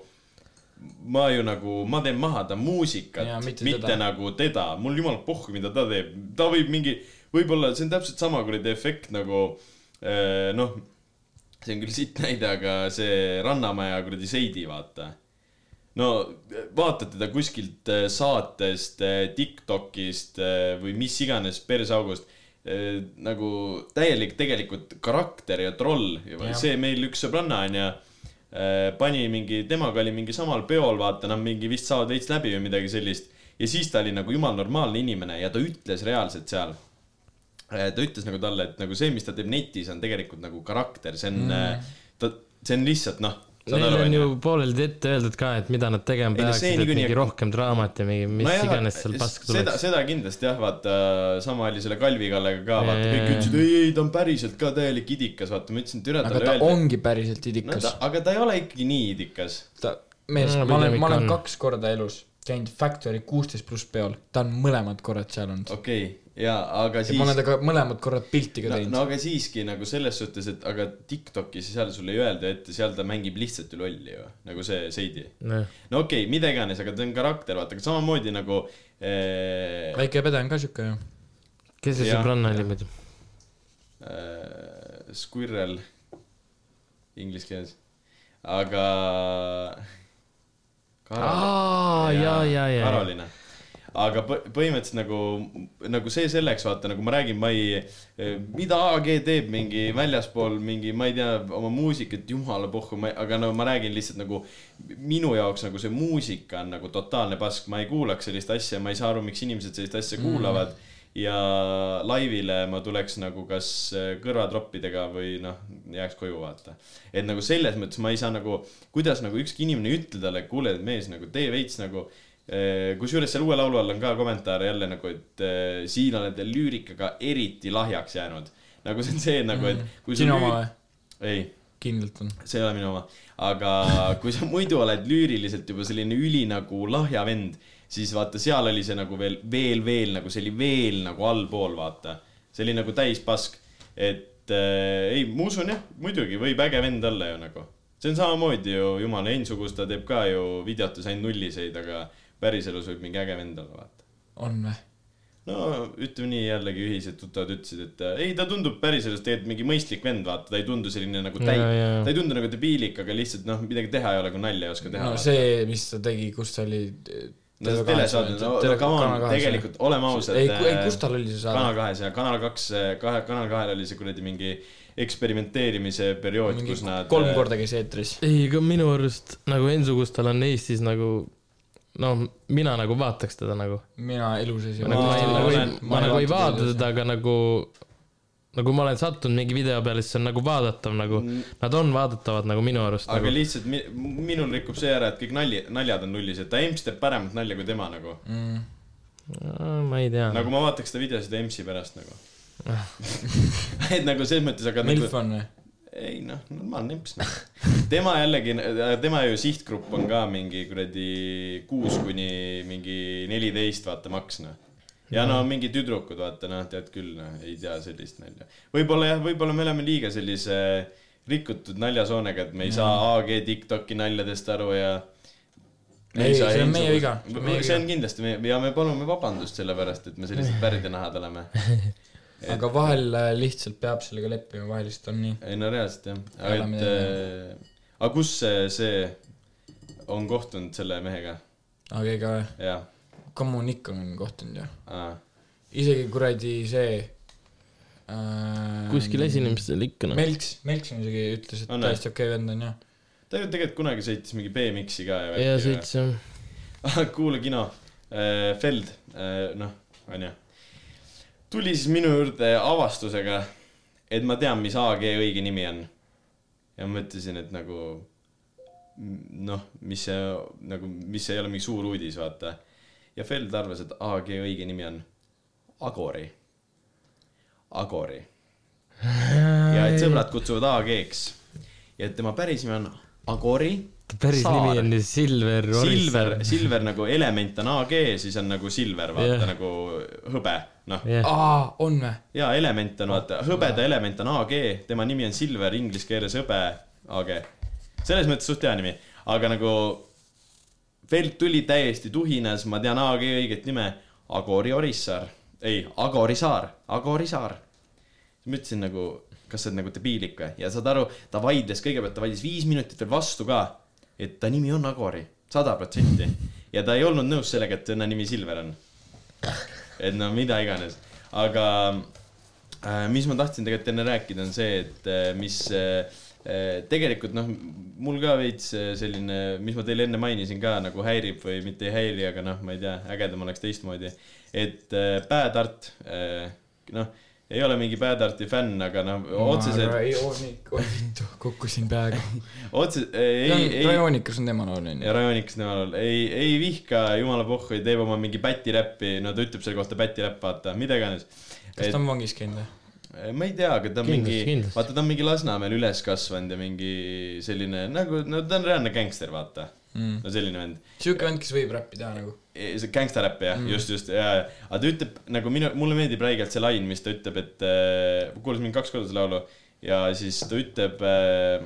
ma ju nagu , ma teen maha ta muusikat
Jaa, ,
mitte,
mitte
mitte
teda.
nagu teda , mul jumal pohhu , mida ta teeb , ta võib mingi , võib-olla see on täpselt sama kuradi efekt nagu eh, noh , see on küll sitt näide , aga see Rannamaja kuradi Seidi , vaata no vaata teda kuskilt eh, saatest , Tiktokist eh, või mis iganes persaugust , nagu täielik tegelikult karakter ja troll ,
Jah.
see meil üks sõbranna onju , pani mingi , temaga oli mingi samal peol , vaata nad mingi vist saavad veits läbi või midagi sellist ja siis ta oli nagu jumal normaalne inimene ja ta ütles reaalselt seal Eh, ta ütles nagu talle , et nagu see , mis ta teeb netis , on tegelikult nagu karakter , see on mm. , ta , see on lihtsalt noh , saad
Neil
aru ,
on ju
onju .
pooleldi ette öeldud ka , et mida nad tegema
Ei, no see
peaksid , et
niikuinii-
mingi rohkem draamat ja mingi mis
Nojah,
iganes seal paska
äh, seda ,
tuleks .
seda kindlasti jah , vaata , sama oli selle Kalvi Kallega ka , vaata , kõik
Jajajah.
ütlesid , ei , ei , ta on päriselt ka täielik idikas , vaata , ma ütlesin , et üle
aga
talle
ta
öeldi .
ongi päriselt
no
idikas
ta ., aga ta ei ole ikkagi nii idikas .
ta , mees ,
No,
ma olen ,
pigem ikka
ma olen
on.
kaks korda elus käinud Factory kuusteist pluss peol , ta on mõlemad korrad seal olnud .
okei okay, , ja aga
ja ma olen
siis ,
temaga mõlemad korrad pilti ka
no,
teinud
no . aga siiski nagu selles suhtes , et aga Tiktokis seal sulle ei öelda ette , seal ta mängib lihtsalt ju lolli ju , nagu see Seidi .
Noh.
no okei okay, , mida iganes , aga ta on karakter , vaata , samamoodi nagu äh, .
väike pede on ka siuke ju .
kes see
Jah.
sõbranna oli muidu ?
äh, squirrel inglise keeles , aga .
aa , ja , ja , ja , ja .
Karolina . aga põ- põhimõtteliselt nagu , nagu see selleks , vaata nagu ma räägin , ma ei , mida AG teeb mingi väljaspool mingi , ma ei tea , oma muusikat , jumala pohhu , ma , aga no ma räägin lihtsalt nagu minu jaoks nagu see muusika on nagu totaalne pask , ma ei kuulaks sellist asja , ma ei saa aru , miks inimesed sellist asja kuulavad mm. ja laivile ma tuleks nagu kas kõrvatroppidega või noh , jääks koju vaata . et nagu selles mõttes ma ei saa nagu , kuidas nagu ükski inimene ütleb talle , kuule mees nagu tee veits nagu Eh, kusjuures seal uue laulu all on ka kommentaar jälle nagu , et eh, siin olete lüürikaga eriti lahjaks jäänud . nagu see on see nagu , et kui
Mm. sinu oma või ??
ei ,
kindlalt on .
see ei ole minu oma , aga kui sa muidu oled lüüriliselt juba selline üli nagu lahja vend , siis vaata , seal oli see nagu veel , veel , veel nagu see oli veel nagu allpool , vaata . see oli nagu täispask , et eh, ei , ma usun jah , muidugi võib äge vend olla ju nagu . see on samamoodi ju jumala Heinsugus , ta teeb ka ju videotes ainult nulliseid , aga päriselus võib mingi äge vend olla , vaata
on või ?
no ütleme nii jällegi ühised tuttavad ütlesid , et äh, ei , ta tundub päriselus tegelikult mingi mõistlik vend , vaata , ta ei tundu selline nagu täi-
Jaa, , jaa.
ta ei tundu nagu debiilik , aga lihtsalt noh , midagi teha ei ole , kui nalja ei oska teha .
no see , mis ta tegi , kus ta oli . eh,
no see telesaade , no no come on , tegelikult oleme ausad .
ei , ei , kus tal oli see
Kanal
saade ?
kahes ja Kanal kaks , kahe , Kanal kahel oli see kuradi mingi eksperimenteerimise periood ,
mingi
kus nad . äh, eh,
kolm . korda käis eetris .
ei , aga minu arust nagu Ensukustal on Eestis nagu , no mina nagu vaataks teda nagu .
mina elu sees
ma nagu ei ,
ma
nagu ei
olen- ,
ma nagu ei vaata teda , aga nagu , nagu ma olen sattunud mingi video peale , siis see on nagu vaadatav nagu , nad on vaadatavad nagu minu arust .
Mm. aga
Nagu.
lihtsalt mi- minul rikub see ära , et kõik nalja , naljad on nullis , et ta Ems teeb paremat nalja kui tema nagu .
nagu- ma ei tea
nagu
nagu... ,
ma vaataks seda videosid Emsi pärast nagu . et nagu selles mõttes , aga .
Milf on või ?
ei noh , normaalne imps noh . tema jällegi , tema ju sihtgrupp on ka mingi kuradi kuus kuni mingi neliteist , vaata maks noh . ja
Mhm.
no mingi tüdrukud , vaata noh , tead küll noh , ei tea sellist nalja . võib-olla jah , võib-olla me oleme liiga sellise rikutud naljasoonega , et me ei
Mhm.
saa AG Tiktoki naljadest aru ja .
Ei, see on meie viga, see on meie
see on kindlasti meie ja me palume vabandust selle pärast , et me sellised pärdenahad oleme
aga vahel äh, lihtsalt peab sellega leppima , vahel lihtsalt on nii .
ei no reaalselt jah ,
Ei
aga
ole
et
midagi
äh, , aga kus see, see on kohtunud selle mehega ,
aga ega
jah ,
kommunik on kohtunud ju .
aa ,
isegi kuradi see äh,
kuskil esinemistel ikka noh .
Melks , Melks on isegi ütles , et
On, jah?
täiesti okei vend on jah .
ta ju tegelikult kunagi sõitis mingi BMX-i ka ja
ja . sõits jah .
kuule kino , Feld , noh , onju , tuli siis minu juurde avastusega , et ma tean , mis AG õige nimi on . ja ma ütlesin , et nagu m- noh , mis see nagu , mis ei ole mingi suur uudis , vaata . ja Feld arvas , et AG õige nimi on Agori , Agori .
Äh,
ja et sõbrad kutsuvad AG-ks ja et tema päris nimi on Agori .
päris nimi on ju Silver .
Silver , Silver nagu element on AG , siis on nagu Silver , vaata
Jah.
yeah. nagu hõbe , noh .
jah ,
aa , on vä ?
ja element on vaata , hõbeda element on AG , tema nimi on Silver , inglise keeles hõbe AG . selles mõttes suht hea nimi , aga nagu Felt tuli täiesti tuhinas , ma tean AG õiget nime , Agori Orissaar , ei , Agori Saar , Agori Saar . siis ma ütlesin nagu , kas sa oled nagu debiilik või , ja saad aru , ta vaidles kõigepealt , ta vaidles viis minutit veel vastu ka , et ta nimi on Agori , sada protsenti . ja ta ei olnud nõus sellega , et tema nimi Silver on . et no mida iganes , aga äh, mis ma tahtsin tegelikult enne rääkida , on see , et äh, mis äh, äh, tegelikult noh , mul ka veits äh, selline , mis ma teile enne mainisin ka nagu häirib või mitte ei häiri , aga noh , ma ei tea , ägedam oleks teistmoodi . et äh, Päätart , noh , ei ole mingi Päätarti fänn , aga noh , otseselt ,
rajoonik , oi vittu , kukkusin peaaegu .
otse , ei , ei
rajoonikas on tema laul on
ja
ju .
Rajoniks näol ei , ei vihka jumala pohhu , teeb oma mingi pätiräppi , no ta ütleb selle kohta pätiräpp , vaata , mida iganes .
kas ta on vangis käinud või ?
Eh, ma ei tea , aga ta on
Kindlasti,
mingi ,
kindlasti.
vaata ta on mingi Lasnamäel üles kasvanud ja mingi selline nagu , no ta on reaalne gängster , vaata mm. . no selline vend .
siuke vend , kes võib räppi teha nagu .
see gängstaräpp jah mm. , just , just , aga ta ütleb nagu minu , mulle meeldib räigelt see lain , mis ta ütleb , et äh, kuulasin mingi kaks korda seda laulu ja siis ta ütleb äh,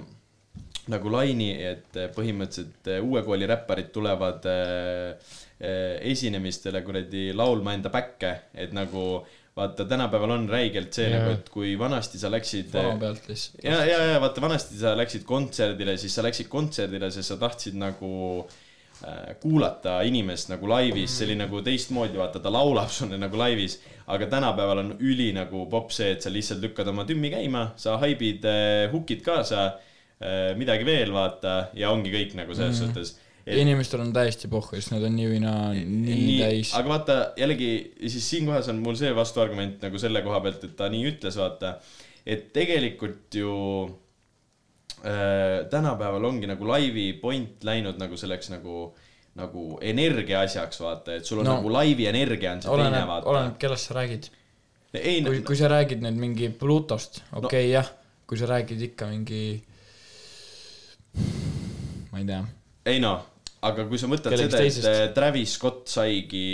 nagu laini , et äh, põhimõtteliselt äh, uue kooli räpparid tulevad äh, äh, esinemistele kuradi laulma enda päkke , et nagu vaata , tänapäeval on räigelt see yeah. nagu , et kui vanasti sa läksid äh,
vana pealt lihtsalt .
ja , ja , ja vaata , vanasti sa läksid kontserdile , siis sa läksid kontserdile , sest sa tahtsid nagu äh, kuulata inimest nagu laivis , see oli nagu teistmoodi , vaata , ta laulab sulle nagu laivis . aga tänapäeval on üli nagu popp see , et sa lihtsalt lükkad oma tümmi käima , sa haibid äh, hukid kaasa äh, , midagi veel , vaata , ja ongi kõik nagu selles mm. suhtes .
inimestel on täiesti pohhu , sest nad on nii või naa nii
nii
täis ,
aga vaata jällegi siis siinkohas on mul see vastuargument nagu selle koha pealt , et ta nii ütles , vaata , et tegelikult ju äh, tänapäeval ongi nagu laivi point läinud nagu selleks nagu , nagu energia asjaks , vaata , et sul on no.
No.
nagu laivi energia on see Olen, teine ,
oleneb ,
vaata .
oleneb , kellest sa räägid .
ei ,
kui , kui sa räägid nüüd mingi Plutost , okei okay, no. , jah , kui sa räägid ikka mingi , ma ei tea ,
ei noh , aga kui sa mõtled
Kellegist
seda , et
teisest.
äh, Travis Scott saigi ,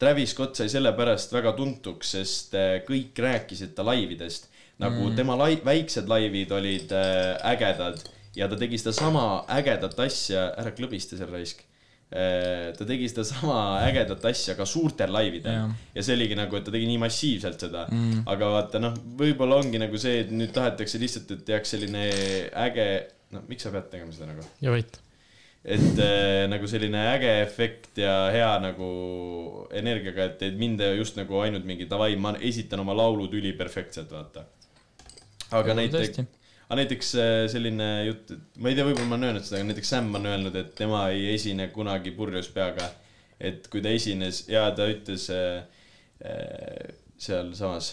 Travis Scott sai sellepärast väga tuntuks , sest äh, kõik rääkisid ta laividest . nagu mm. tema lai- , väiksed laivid olid äh, ägedad ja ta tegi sedasama ägedat asja , ära klõbista seal raisk . ta tegi sedasama ägedat asja ka suurtel laividel
Jah.
ja see oligi nagu , et ta tegi nii massiivselt seda mm. , aga vaata noh , võib-olla ongi nagu see , et nüüd tahetakse lihtsalt , et jääks selline äge , no miks sa pead tegema seda nagu ?
ja vait .
et äh, nagu selline äge efekt ja hea nagu energiaga , et , et mind just nagu ainult mingi davai , ma esitan oma laulud üliperfektselt , vaata . aga näiteks
tõesti. ,
aga näiteks äh, selline jutt , et ma ei tea , võib-olla ma olen öelnud seda , aga näiteks Sam on öelnud , et tema ei esine kunagi purjus peaga . et kui ta esines ja ta ütles äh, äh, sealsamas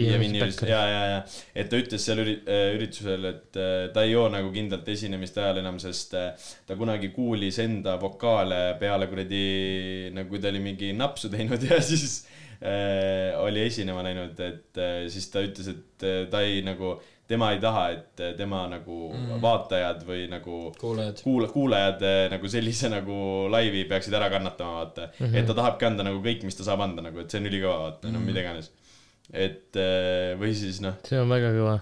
ja vinüülis , ja , ja , ja , et ta ütles seal üri- , üritusel , et äh, ta ei joo nagu kindlalt esinemiste ajal enam , sest äh, ta kunagi kuulis enda vokaale peale kuradi , nagu kui ta oli mingi napsu teinud ja siis äh, oli esinema läinud , et äh, siis ta ütles , et äh, ta ei nagu , tema ei taha , et eh, tema nagu mm. vaatajad või nagu
kuulajad .
kuula- , kuulajad eh, nagu sellise nagu laivi peaksid ära kannatama , vaata mm .
Mhm.
-hmm. et ta tahabki anda nagu kõik , mis ta saab anda nagu , et see on ülikõva , vaata mm , -hmm. no mida iganes . et eh, või siis noh ,
see on väga kõva .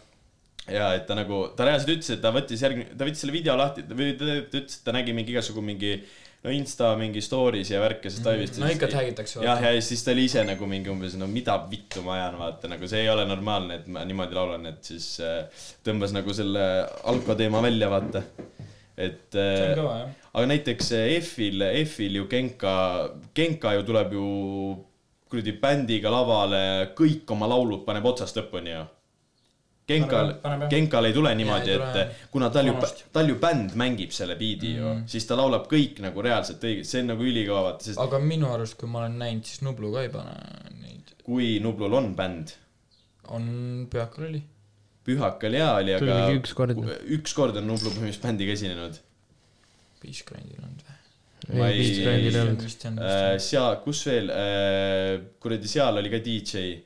ja et ta nagu , ta reaalselt ütles , et ta võttis järgmine , ta võttis selle video lahti ta- või ta, ta ütles , et ta nägi mingi igasugu mingi no Insta mingi stories ja värke , sest ta vist
Mhm. no ikka tagitakse .
jah , ja siis ta oli ise nagu mingi umbes , no mida vittu ma ajan , vaata nagu see ei ole normaalne , et ma niimoodi laulan , et siis äh, tõmbas nagu selle alkoteema välja , vaata . et
see on
äh,
kõva jah .
aga näiteks eh, EF-il , EF-il ju Genka , Genka ju tuleb ju kuradi bändiga lavale , kõik oma laulud paneb otsast lõpuni ju . Genkal
Paneb- paneb, jah. ,
Genkal ei tule niimoodi ,
ei tule,
et kuna tal ju
vanasti. , Mm.
tal ju bänd mängib selle biidi ju , siis ta laulab kõik nagu reaalselt õigesti , see on nagu ülikõva , vaata , sest
aga minu arust , kui ma olen näinud , siis Nublu ka ei pane neid .
kui Nublul on bänd ,
on , Pühakul oli .
Pühakal jaa oli ,
Tuli
aga
mingi üks kord.
üks kord on Nublu põhimõtteliselt bändiga esinenud .
Peace Grindil on või ?
Ma ei- Äh,
vist brändil ei olnud .
vist on , vist
seal , kus veel , kuradi seal oli ka DJ ,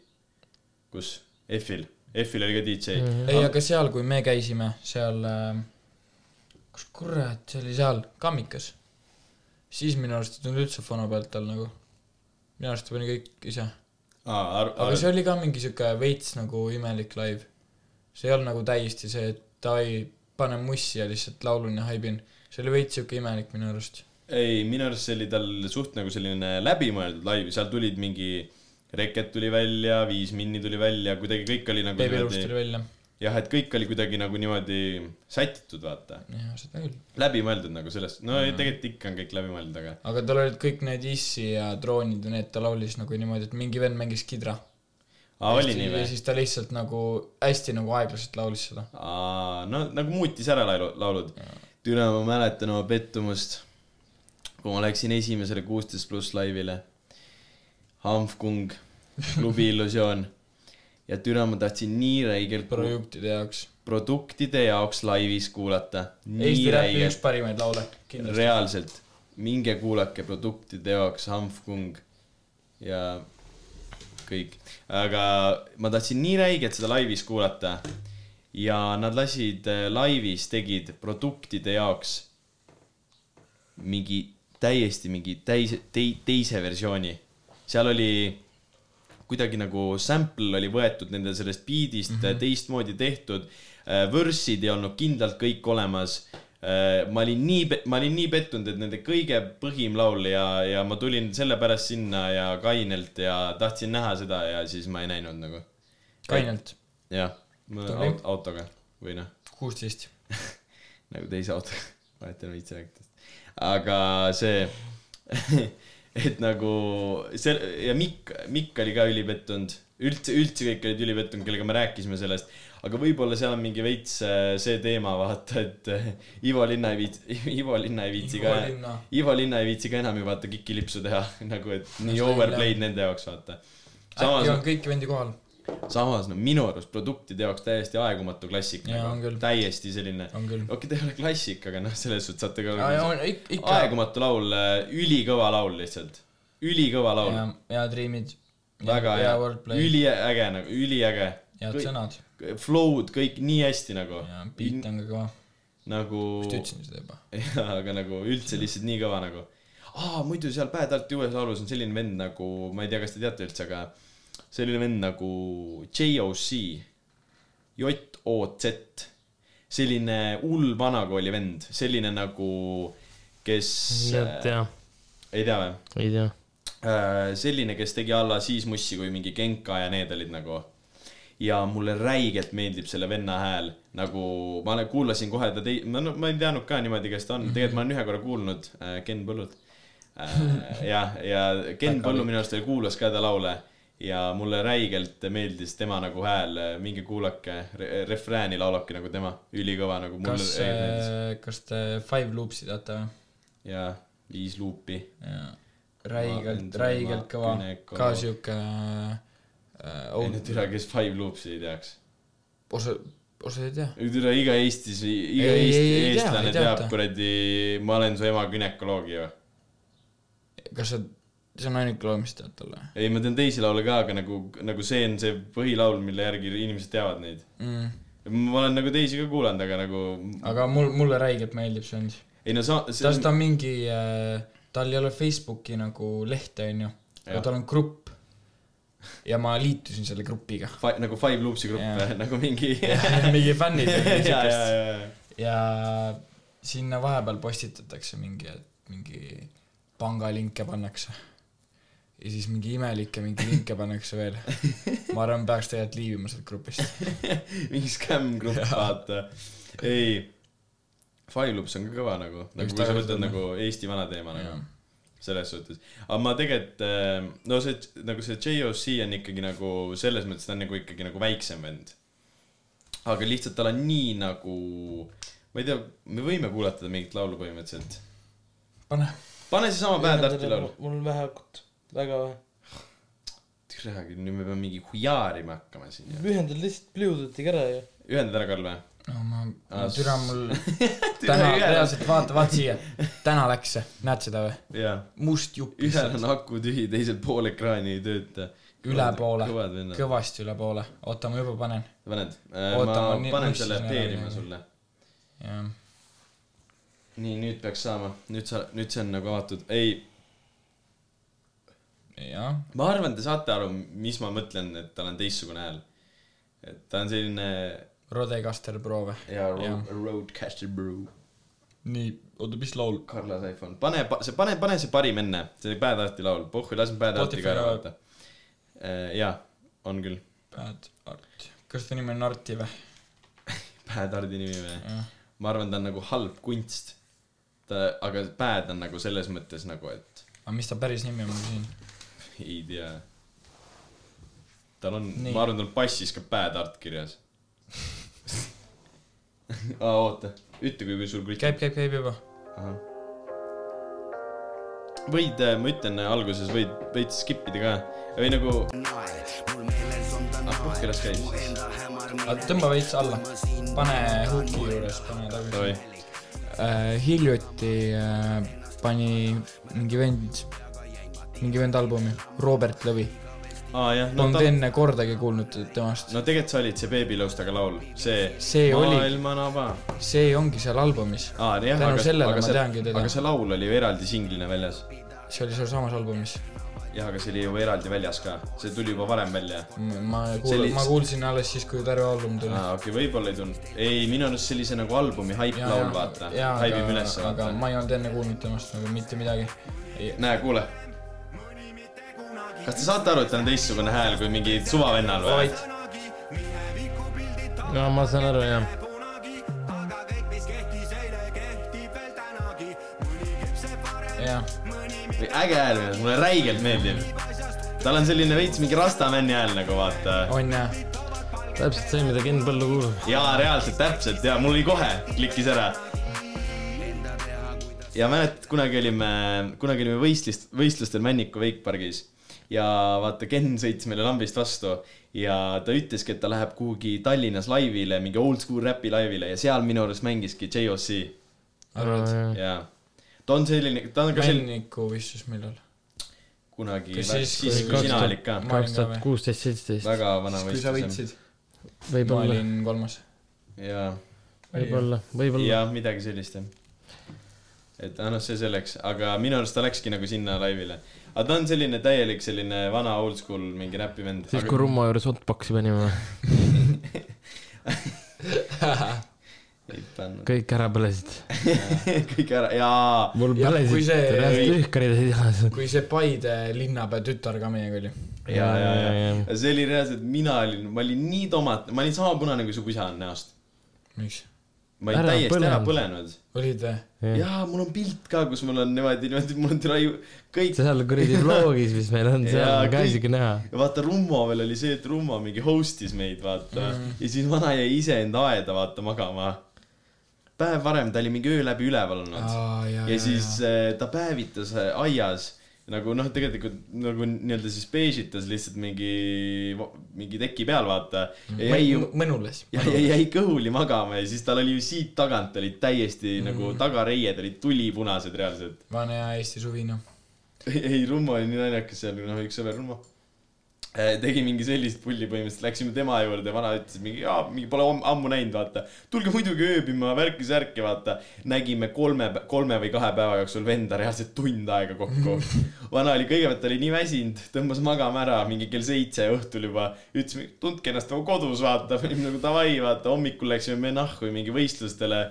kus , F-il , F-il oli ka DJ mm .
on . ei , aga seal , kui me käisime , seal äh, , kus kurat , see oli seal , Kammikas . siis minu arust ei tulnud üldse fono pealt tal nagu . minu arust ta pani kõik ise .
aa ,
aga
ar- ,
see oli ka mingi sihuke veits nagu imelik live . see ei olnud nagu täiesti see , et davai , pane mussi ja lihtsalt laulun ja haibin . see oli veits sihuke imelik minu arust .
ei , minu arust see oli tal suht nagu selline läbimõeldud laiv , seal tulid mingi Reket tuli välja , Viis Minni tuli välja , kuidagi kõik oli nagu
beebiluust tuli
niimoodi ,
välja .
jah , et kõik oli kuidagi nagu niimoodi sätitud , vaata .
jah , seda küll .
läbimõeldud nagu sellest , no
Mhm.
mm. tegelikult ikka on kõik läbimõeldud , aga
aga tal olid kõik need issi ja droonid ja need , ta laulis nagu niimoodi , et mingi vend mängis kidra .
aa , oli nii
ja
või ?
siis ta lihtsalt nagu hästi nagu aeglaselt laulis seda .
Aa, no nagu muutis ära laulu , laulud . türa , ma mäletan oma pettumust , kui ma läksin esimesele kuusteist pluss laivile . Hanfkung , klubi illusioon ja türa , ma tahtsin nii räigelt pro
projektide jaoks .
produktide jaoks laivis kuulata . nii
Eesti räpi üks
räigelt ,
parimaid laule , kindlasti .
reaalselt , minge kuulake produktide jaoks Hanfkung ja kõik , aga ma tahtsin nii räigelt seda laivis kuulata ja nad lasid äh, laivis , tegid produktide jaoks mingi täiesti mingi täis- tei, , teise versiooni . seal oli kuidagi nagu sample oli võetud nende sellest beat'ist mm
Mhm.
-hmm. teistmoodi tehtud , võrssid ei olnud kindlalt kõik olemas . ma olin nii , ma olin nii pettunud , et nende kõige põhim laul ja , ja ma tulin sellepärast sinna ja kainelt ja tahtsin näha seda ja siis ma ei näinud nagu .
kainelt ,
jah ,
Tubli.
aut, autoga või noh
kuusteist .
nagu teise autoga , vahet ei ole viitsi rääkida . aga see , et nagu see ja Mikk , Mikk oli ka ülipettunud , üldse , üldse kõik olid ülipettunud , kellega me rääkisime sellest . aga võib-olla seal on mingi veits äh, see teema , vaata , et äh, Ivo Linna ei viitsi , Ivo Linna ei viitsi ka
Ivo Linna. ,
Ivo Linna ei viitsi ka enam ju vaata kikilipsu teha nagu , et nii
see on
overplayed nende jaoks , vaata .
äkki
samas
on , kõiki vendi kohal .
samas no minu arust produktide jaoks täiesti aegumatu klassik
Jaa, on
nagu
küll. ,
täiesti selline
on küll .
okei , ta ei ole klassik , aga noh , selles suhtes saate ka
Mm. on ik- ikka .
aegumatu laul , ülikõva laul lihtsalt , ülikõva laul ,
ja , ja Dreamid .
väga hea
hea wordplay ,
üliäge nagu , üliäge ,
head
kõik-
sõnad .
flow'd kõik nii hästi nagu
ja , beat on ka kõva .
nagu ,
vist ütlesin seda juba .
aga nagu üldse lihtsalt nii kõva nagu . aa , muidu seal Bad Arti uues laulus on selline vend nagu , ma ei tea , kas te teate üldse , aga selline vend nagu JOC , J-O-Z , selline hull vanakooli vend , selline nagu , kes ,
nii et
ei
jah ,
tea või ?
ei tea .
Äh, selline , kes tegi alla siis mussi , kui mingi Genka ja need olid nagu . ja mulle räigelt meeldib selle venna hääl , nagu ma olen- kuulasin kohe ta tei- , ma , ma ei teadnud ka niimoodi , kes ta on , tegelikult ma olen ühe korra kuulnud äh, Ken Põllult äh, . jah , ja Ken Põllu minu arust oli- kuulas ka ta laule ja mulle räigelt meeldis tema nagu hääl , minge kuulake re , refrääni laulabki nagu tema , ülikõva nagu mulle
kas , äh,
meeldis
kas te Five Loopsi teate või ?
ja viis luupi
Jaa.
Ma-
räigelt , räigelt
ma-
kõva
Küneko- ,
ka sihuke äh,
oh. . ei no
old ,
türa , kes Five Loopsi ei teaks
osa , osa ei tea .
üle iga Eestis , iga ei,
Ei,
Eesti
ei,
ei,
ei tea,
eestlane
ei
tea,
teata.
teab kuradi , ma olen su ema gümnakoloogi ju .
kas sa , see on ainuke laul , mis tead talle
ei , ma tean teisi laule ka , aga nagu , nagu see on see põhilaul , mille järgi inimesed teavad neid .
mm. ?
ma olen nagu teisi ka kuulanud , aga nagu ,
aga mul , mulle räigelt meeldib see ongi .
ei no sa , see
sest ta on mingi , tal ei ole Facebooki nagu lehte , onju ,
Jah.
aga tal on grupp . ja ma liitusin selle grupiga .
fi, nagu Five Loopsi grupp
Jaa.
yeah. , nagu mingi .
mingi fännid ja mingi
ja , ja ,
siukest .
ja ,
ja sinna vahepeal postitatakse mingi , mingi pangalinke pannakse . ja siis mingi imelikke mingi linke pannakse veel . ma arvan , peaks tegelikult liivima sealt grupist .
mingi skämm grupp , vaata . ei , Five Loops on ka kõva nagu , nagu
Üks
kui sa
tagasi
võtad
tulnud.
nagu Eesti vana teema nagu selles suhtes , aga ma tegelikult , no see nagu see JOC on ikkagi nagu selles mõttes ta on nagu ikkagi nagu väiksem vend . aga lihtsalt tal on nii nagu , ma ei tea , me võime kuulata mingit laulu põhimõtteliselt .
pane .
pane seesama Bad Arti laul .
mul on vähe akut , väga vähe .
tere , nüüd me peame mingi hujaarima hakkama siin ju .
ühendad lihtsalt Bluetoothiga ära ja .
ühendad ära , Karl või ?
no ma ,
Ah,
türa mul täna reaalselt vaata , vaata siia . täna läks see , näed seda või ?
jaa ,
must jupp
ühel
lihtsalt ,
on aku tühi , teisel pool ekraani ei tööta .
üle poole ,
kõvad vennad ,
kõvasti üle poole . oota , ma juba panen .
paned ?
Oota,
ma
ma nii-
panen
mõtlesin
selle
ära
peerima
midagi.
sulle .
jah ,
nii , nüüd peaks saama , nüüd sa , nüüd see on nagu avatud , ei
jah ,
ma arvan , te saate aru , mis ma mõtlen , et tal on teistsugune hääl . et ta on selline
Rodecaster Pro või ?
hea
Jah.
road , roadcaster brew ,
nii , oota , mis laul ?
Carlas iPhone , pane , see , pane , pane see parim enne , see oli Bad Arti laul , pohhu , lasen Bad Arti ka ära vaata . jaa , on küll ,
Bad Art . kas ta nimi on Arti või ?
Bad Arti nimi või ? ma arvan , ta on nagu halb kunst . ta , aga Bad on nagu selles mõttes nagu , et
aga mis ta päris nimi on mul siin ?
ei tea . tal on ,
Nii.
ma arvan , tal on passis ka Bad Art kirjas . aa , oota , ütle , kui sul kõik
käib , käib , käib juba .
Ahah. võid , ma ütlen äh, alguses , võid veits skip ida ka või nagu . ah , puhkelas käis .
aga tõmba veits alla . pane hooki juures , pane
Davai
tagasi .. äh, . hiljuti äh, pani mingi vend , mingi vend albumi , Robert Lõvi .
aa jah ,
ma
no
olen
ta ,
enne kordagi kuulnud temast .
no tegelikult sa olid see beebilõustaga laul , see .
See oli-
maailm on ava .
see ongi seal albumis ,
aa , jah ,
Tänu
aga ,
sellele
aga
ma teangi
see ,
teda.
aga see laul oli ju eraldi singlina väljas .
see oli sealsamas albumis .
jah , aga see oli ju eraldi väljas ka , see tuli juba varem välja .
ma
See
kuul-
oli- , Ah.
ma kuulsin alles siis , kui terve album tuli .
aa , okei okay, , võib-olla ei tulnud . ei , minu arust see oli see nagu albumi haip laul , vaata . haibib
aga,
ülesse ,
aga
vaata .
ma ei olnud enne kuulnud temast nagu mitte midagi .
näe , kuule . kas te saate aru , et tal on teistsugune hääl kui mingi suvavennal või ?
vait ,
no ma saan aru jah .
jah ,
äge hääl , mulle räigelt meeldib . tal on selline veits mingi rastamänni hääl nagu vaata .
on jah .
täpselt see , mida Ken Põllu kuulab .
jaa , reaalselt täpselt ja mul oli kohe , klikkis ära . ja mäletad , kunagi olime , kunagi olime võistlist , võistlustel Männiku veikpargis ja vaata , Ken sõitis meile lambist vastu ja ta ütleski , et ta läheb kuhugi Tallinnas laivile , mingi old school räpi laivile ja seal minu arust mängiski JOC
arvad ?
jaa , ta on selline , ta on ka selline
Männiku vissus millal ?
kunagi
Kas
siis ,
siis,
siis
kui
kui sina
kaks-
olid ka
Ma olin
kaks
ka
tuhat
või?
kuusteist , seitseteist .
väga vana
kui sa
võistlus .
võitsid ? ma
võib-olla ,
olin kolmas .
jaa ,
võib-olla , võib-olla .
ja midagi sellist jah . et ah noh , see selleks , aga minu arust ta läkski nagu sinna laivile . aga ta on selline täielik selline vana oldschool mingi räpivend .
siis , kui Rummo juures hotbox'i panime ,
ei pannud
kõik ära põlesid .
kõik ära , jaa .
mul
Jah,
põlesid
kui see-
reaalselt lühkarid jalas .
kui see Paide linnapea tütar ka meiega oli .
ja , ja ,
Ja, ja,
ja
ja. ,
ja see oli reaalselt , mina olin , ma olin nii tomat- , ma olin sama punane , kui su isa on näost .
miks ?
ma olin
Ära
täiesti ära
põlenud.
põlenud .
olid või ?
jaa , mul on pilt ka , kus mul on niimoodi , niimoodi , mul on türa ju kõik
seal kuradi vlogis , mis meil on , seal
Jaa,
on ka
kõik-
isegi näha .
ja vaata , Rummo veel oli see , et Rummo mingi host'is meid , vaata mm. . ja siis vana jäi iseenda aeda , vaata , magama . päev varem ta oli mingi öö läbi üleval olnud ja,
ja
ja siis . ja. ta päevitas äh, aias nagu noh , tegelikult nagu nii-öelda siis beežitas lihtsalt mingi , mingi teki peal , vaata . ja jäi ju ,
mõnules .
ja , ja jäi kõhuli magama ja siis tal oli ju siit tagant olid täiesti mm. nagu tagareied olid tulipunased reaalselt .
vana hea Eesti suvi , noh .
ei , Rummo oli nii naljakas seal , noh , üks sõber Rummo . tegi mingi sellist pulli põhimõtteliselt , läksime tema juurde , vana ütles mingi , mingi pole om- ammu näinud , vaata . tulge muidugi ööbima , värki-särki , vaata . nägime kolme , kolme või kahe päeva jooksul venda reaalselt tund aega kokku . vana oli , kõigepealt oli nii väsinud , tõmbas magama ära mingi kell seitse õhtul juba . ütles , tundke ennast nagu kodus , vaata . nagu davai , vaata , hommikul läksime me nahku mingi võistlustele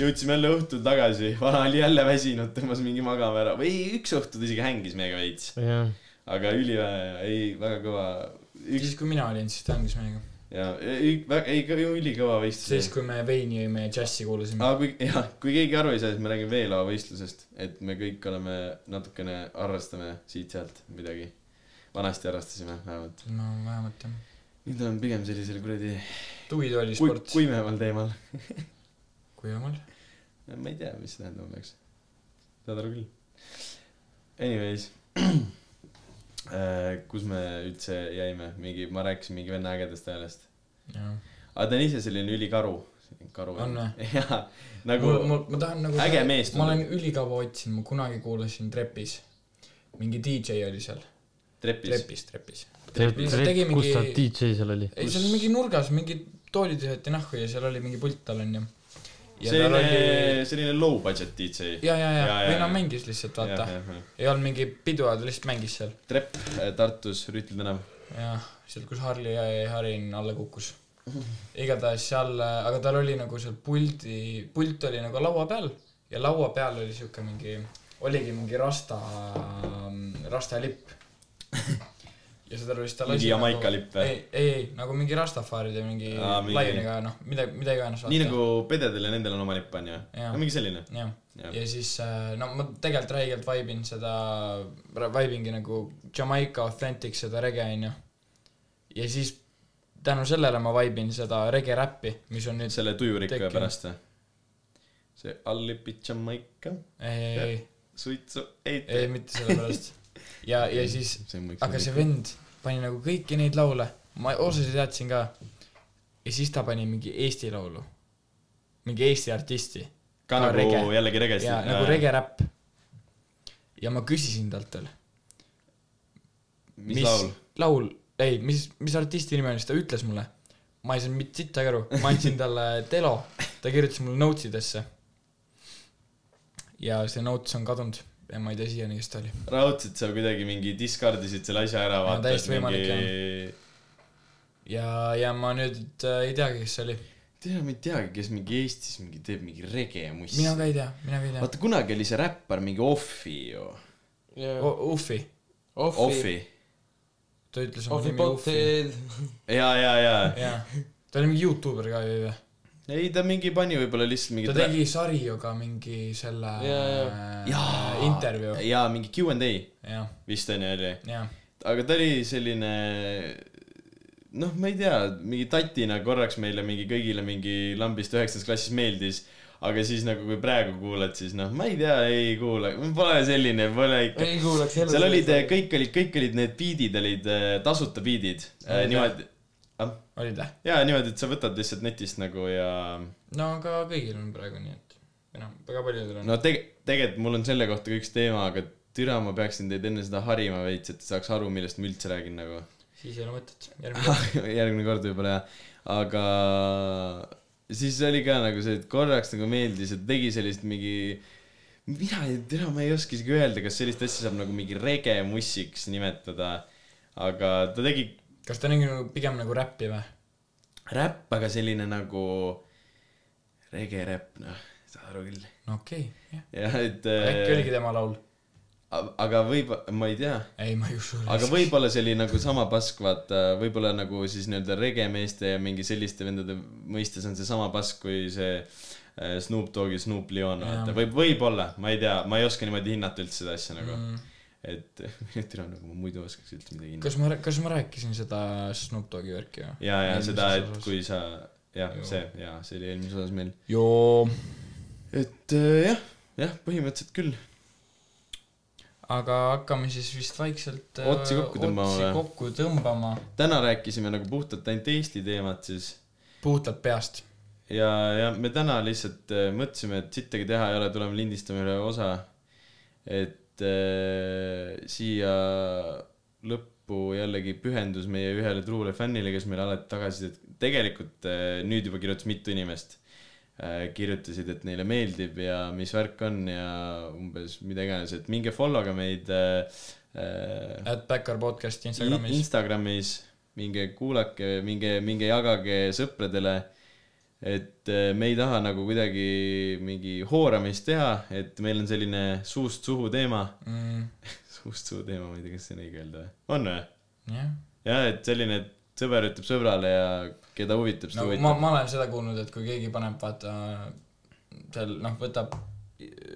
jõudsime jälle õhtul tagasi , vana oli jälle väsinud , tõmbas mingi magama ära või üks õhtu ta isegi hängis meiega veits ,
jah .
aga üliväe , ei väga kõva , üks
siis , kui mina olin , siis ta hängis meiega .
ja ei , väga , ei , ülikõva võistlus
siis ,. kui me veini jõime ja džässi kuulasime .
aga kui , jah , kui keegi aru ei saa , siis me räägime veelaovõistlusest , et me kõik oleme natukene , harrastame siit-sealt midagi . vanasti harrastasime vähemalt .
no vähemalt jah .
nüüd on pigem sellisel kuradi
tugitooli
kui,
sport .
kuimemal teemal .
kuivamal .
ma ei tea , mis see tähendama peaks . saad aru küll . Anyways , kus me üldse jäime , mingi , ma rääkisin mingi venna ägedast häälest .
jah .
aga ta on ise selline ülikaru . karu .
On
jaa , nagu
mul , mul , ma tahan nagu
äge mees
ma olen ülikaua otsinud , ma kunagi kuulasin trepis , mingi DJ oli seal ,
trepis .
trepis , trepis . trepis , ta tegi
kus ta
mingi ,
DJ seal oli ?
ei seal mingi nurgas mingi toolid visati nahku ja seal oli mingi pult tal onju . ja tal oli ,
selline , selline low budget DJ .
ja , ja , ja
ja, , ja,
venna
ja.
mängis lihtsalt , vaata , ei olnud mingi pidu , ta lihtsalt mängis seal
trepp äh, Tartus , Rüütli tänav .
jah , seal , kus Harli ja ja Harin alla kukkus . igatahes seal , aga tal oli nagu seal puldi , pult oli nagu laua peal ja laua peal oli siuke mingi , oligi mingi rasta , rasta lipp . ja seda vist ta
Mingi Jamaica lipp või?
või ? nagu- ei , ei , ei , nagu mingi rastafaaride mingi,
Aa,
mingi...
mingi-
laiuniga , noh , mida , mida iganes .
nii nagu pededel ja nendel on oma lipp , on ju ?
Jaa.
mingi selline .
jah ,
Jah.
ja siis äh, no ma tegelikult räigelt vaibin seda , vaibingi nagu Jamaica Authentic seda rege onju . ja siis tänu sellele ma vaibin seda rege räppi , mis on nüüd see ,
selle tujurikka
Tekkinud.
pärast . see allipid Jamaica ,
ei , ei , ei ,
suitsu ei
ei , mitte sellepärast . ja , ja siis , aga see . vend pani nagu kõiki neid laule , ma osasid teadsin ka . ja siis ta pani mingi Eesti laulu , mingi Eesti artisti
ka
ka
nagu
rege.
jällegi regest .
jaa , nagu . regeräpp . ja ma küsisin talt veel .
mis laul ??
laul , ei , mis , mis artisti nimi on , siis ta ütles mulle . ma ei saanud mitte sittagi aru , ma andsin talle telo , ta kirjutas mulle notes idesse . ja see notes on kadunud ja ma ei tea siiani , kes ta oli .
raudselt sa kuidagi mingi discardisid selle asja ära ,
Jaa,
vaata .
täiesti võimalik, ja , ja ma nüüd äh, ei teagi , kes see oli .
tea , ma ei teagi , kes mingi Eestis mingi teeb mingi regemuss .
mina ka ei tea , mina ka ei tea
vaata , kunagi oli see räppar mingi Offi ju .
jah .
o . Uffi ,
Offi .
Offi .
ta ütles oma
Offi
nimi Uffi .
Cocktail .
ja , ja , ja .
jaa , ta oli mingi Youtuber ka ju , ju .
ei , ta mingi pani võib-olla lihtsalt mingi
ta . tegi Sarioga mingi selle
Jaa,
äh, intervjuu ,
ja mingi Q and A
jah ,
vist onju oli ,
jah
aga ta oli selline noh , ma ei tea , mingi tatina korraks meile mingi kõigile mingi lambist üheksandas klassis meeldis , aga siis nagu kui praegu kuulad , siis noh , ma ei tea , ei kuula , pole selline , pole ikka .
ei kuulaks elu .
seal olid , kõik olid , kõik olid need beat'id olid eh, tasuta beat'id , niimoodi , Ah.
olid vä ?
jaa , niimoodi , et sa võtad lihtsalt netist nagu ja
no aga kõigil on praegu nii , et või noh , väga paljudel on no. .
no tege- , tegelikult mul on selle kohta ka üks teema , aga türa , ma peaksin teid enne seda harima veits , et saaks aru , millest ma üldse räägin nagu
siis ei ole mõtet , järgmine kord .
järgmine kord võib-olla jah , aga siis oli ka nagu see , et korraks nagu meeldis , et tegi sellist mingi , mina ei tea , ma ei oska isegi öelda , kas sellist asja saab nagu mingi regemussiks nimetada , aga ta tegi
kas ta on ikka nagu pigem nagu räppi või ?
räpp , aga selline nagu regeräpp , noh , saad aru küll .
no okei okay, , jah .
jah , et
äkki oligi tema laul ?
a- aga võib , ma ei tea
ei , ma ei usu .
aga võib-olla see oli nagu sama pask , vaata , võib-olla nagu siis nii-öelda regemeeste ja mingi selliste vendade mõistes on see sama pask kui see äh, Snoop Dogg ja Snoop Leon , vaata , võib , võib-olla , ma ei tea , ma ei oska niimoodi hinnata üldse seda asja nagu mm. . et tere , nagu ma muidu oskaks üldse midagi hinnata .
kas ma , kas ma rääkisin seda Snoop Dogi värki või ?
ja , ja seda , et . kui sa , jah , see , jaa , see oli eelmises osas meil .
joo .
et äh, jah , jah , põhimõtteliselt küll .
aga hakkame siis vist vaikselt äh,
Otsi kokku tõmbama
otsi
või?
kokku tõmbama
täna rääkisime nagu puhtalt ainult Eesti teemat siis
puhtalt peast .
ja , ja me täna lihtsalt äh, mõtlesime , et sittagi teha ei ole , tuleme lindistame üle osa . et äh, siia lõpp , lõppu jällegi pühendus meie ühele truule fännile , kes meile alati tagasisidet , tegelikult eh, nüüd juba kirjutas mitu inimest , kirjutasid , et neile meeldib ja mis värk on ja umbes mida iganes , et minge follow'ga meid eh, eh,
at Backyard
I-
Podcast Instagramis .
Instagramis , minge kuulake , minge , minge jagage sõpradele . et eh, me ei taha nagu kuidagi mingi hooramist teha , et meil on selline suust suhu teema
Mm,
suust suhu teema , ma ei tea , kas see on õige öelda või ? on või ?
jah ,
jah , et selline , et sõber ütleb sõbrale ja keda huvitab , seda
no
no,
Nagu ma ,
huvitab ma... .
ma olen seda kuulnud , et kui keegi paneb vaata seal noh , võtab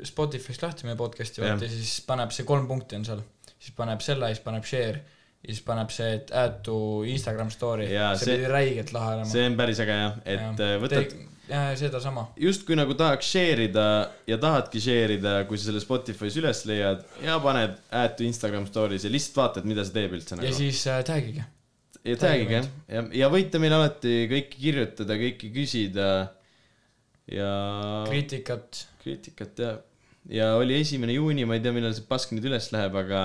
Spotify'st lahti meie podcast'i vaata ja siis paneb see kolm punkti on seal , siis paneb selle , siis paneb share ja siis paneb see , et add to Instagram story ,
Jaa,
see
see-
pidi räigelt lahe olema .
see on päris äge jah , et ja, võtad te... ,
jaa , sedasama .
justkui nagu tahaks share ida ja tahadki share ida , kui sa selle Spotify's üles leiad ja paned add to Instagram stories ja lihtsalt vaatad , mida see teeb üldse
ja
nagu . Nagu-
siis äh, tag'ige .
ja tag'ige jah , ja , ja võite meile alati kõike kirjutada , kõike küsida ja
kriitikat ,
kriitikat ja , ja oli esimene juuni , ma ei tea , millal see pask nüüd üles läheb , aga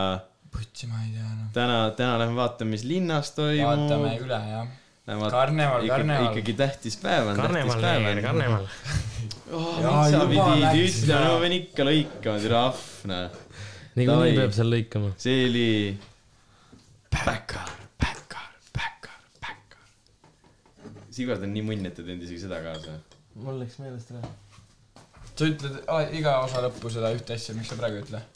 putsi ma ei tea enam .
täna , täna lähme vaatame , mis linnas toimub .
vaatame üle jah .
Näevad,
Karneval, karneval.
ikkagi tähtis päev on , tähtis
karneval ,
päev
neer ,
on .
karneval .
Jaa,
sa
juba
pidid
läks,
ütlema ,
jaa.
ma pean ikka lõikama , türa ahna .
niikuinii
Davai.
peab seal lõikama .
see oli ,
Backyard , Backyard , Backyard , Backyard .
Sigvard on nii munn , et ta teinud isegi seda kaasa .
mul läks meelest ära .
sa ütled a- iga osa lõppu seda ühte asja , miks sa praegu ei ütle ?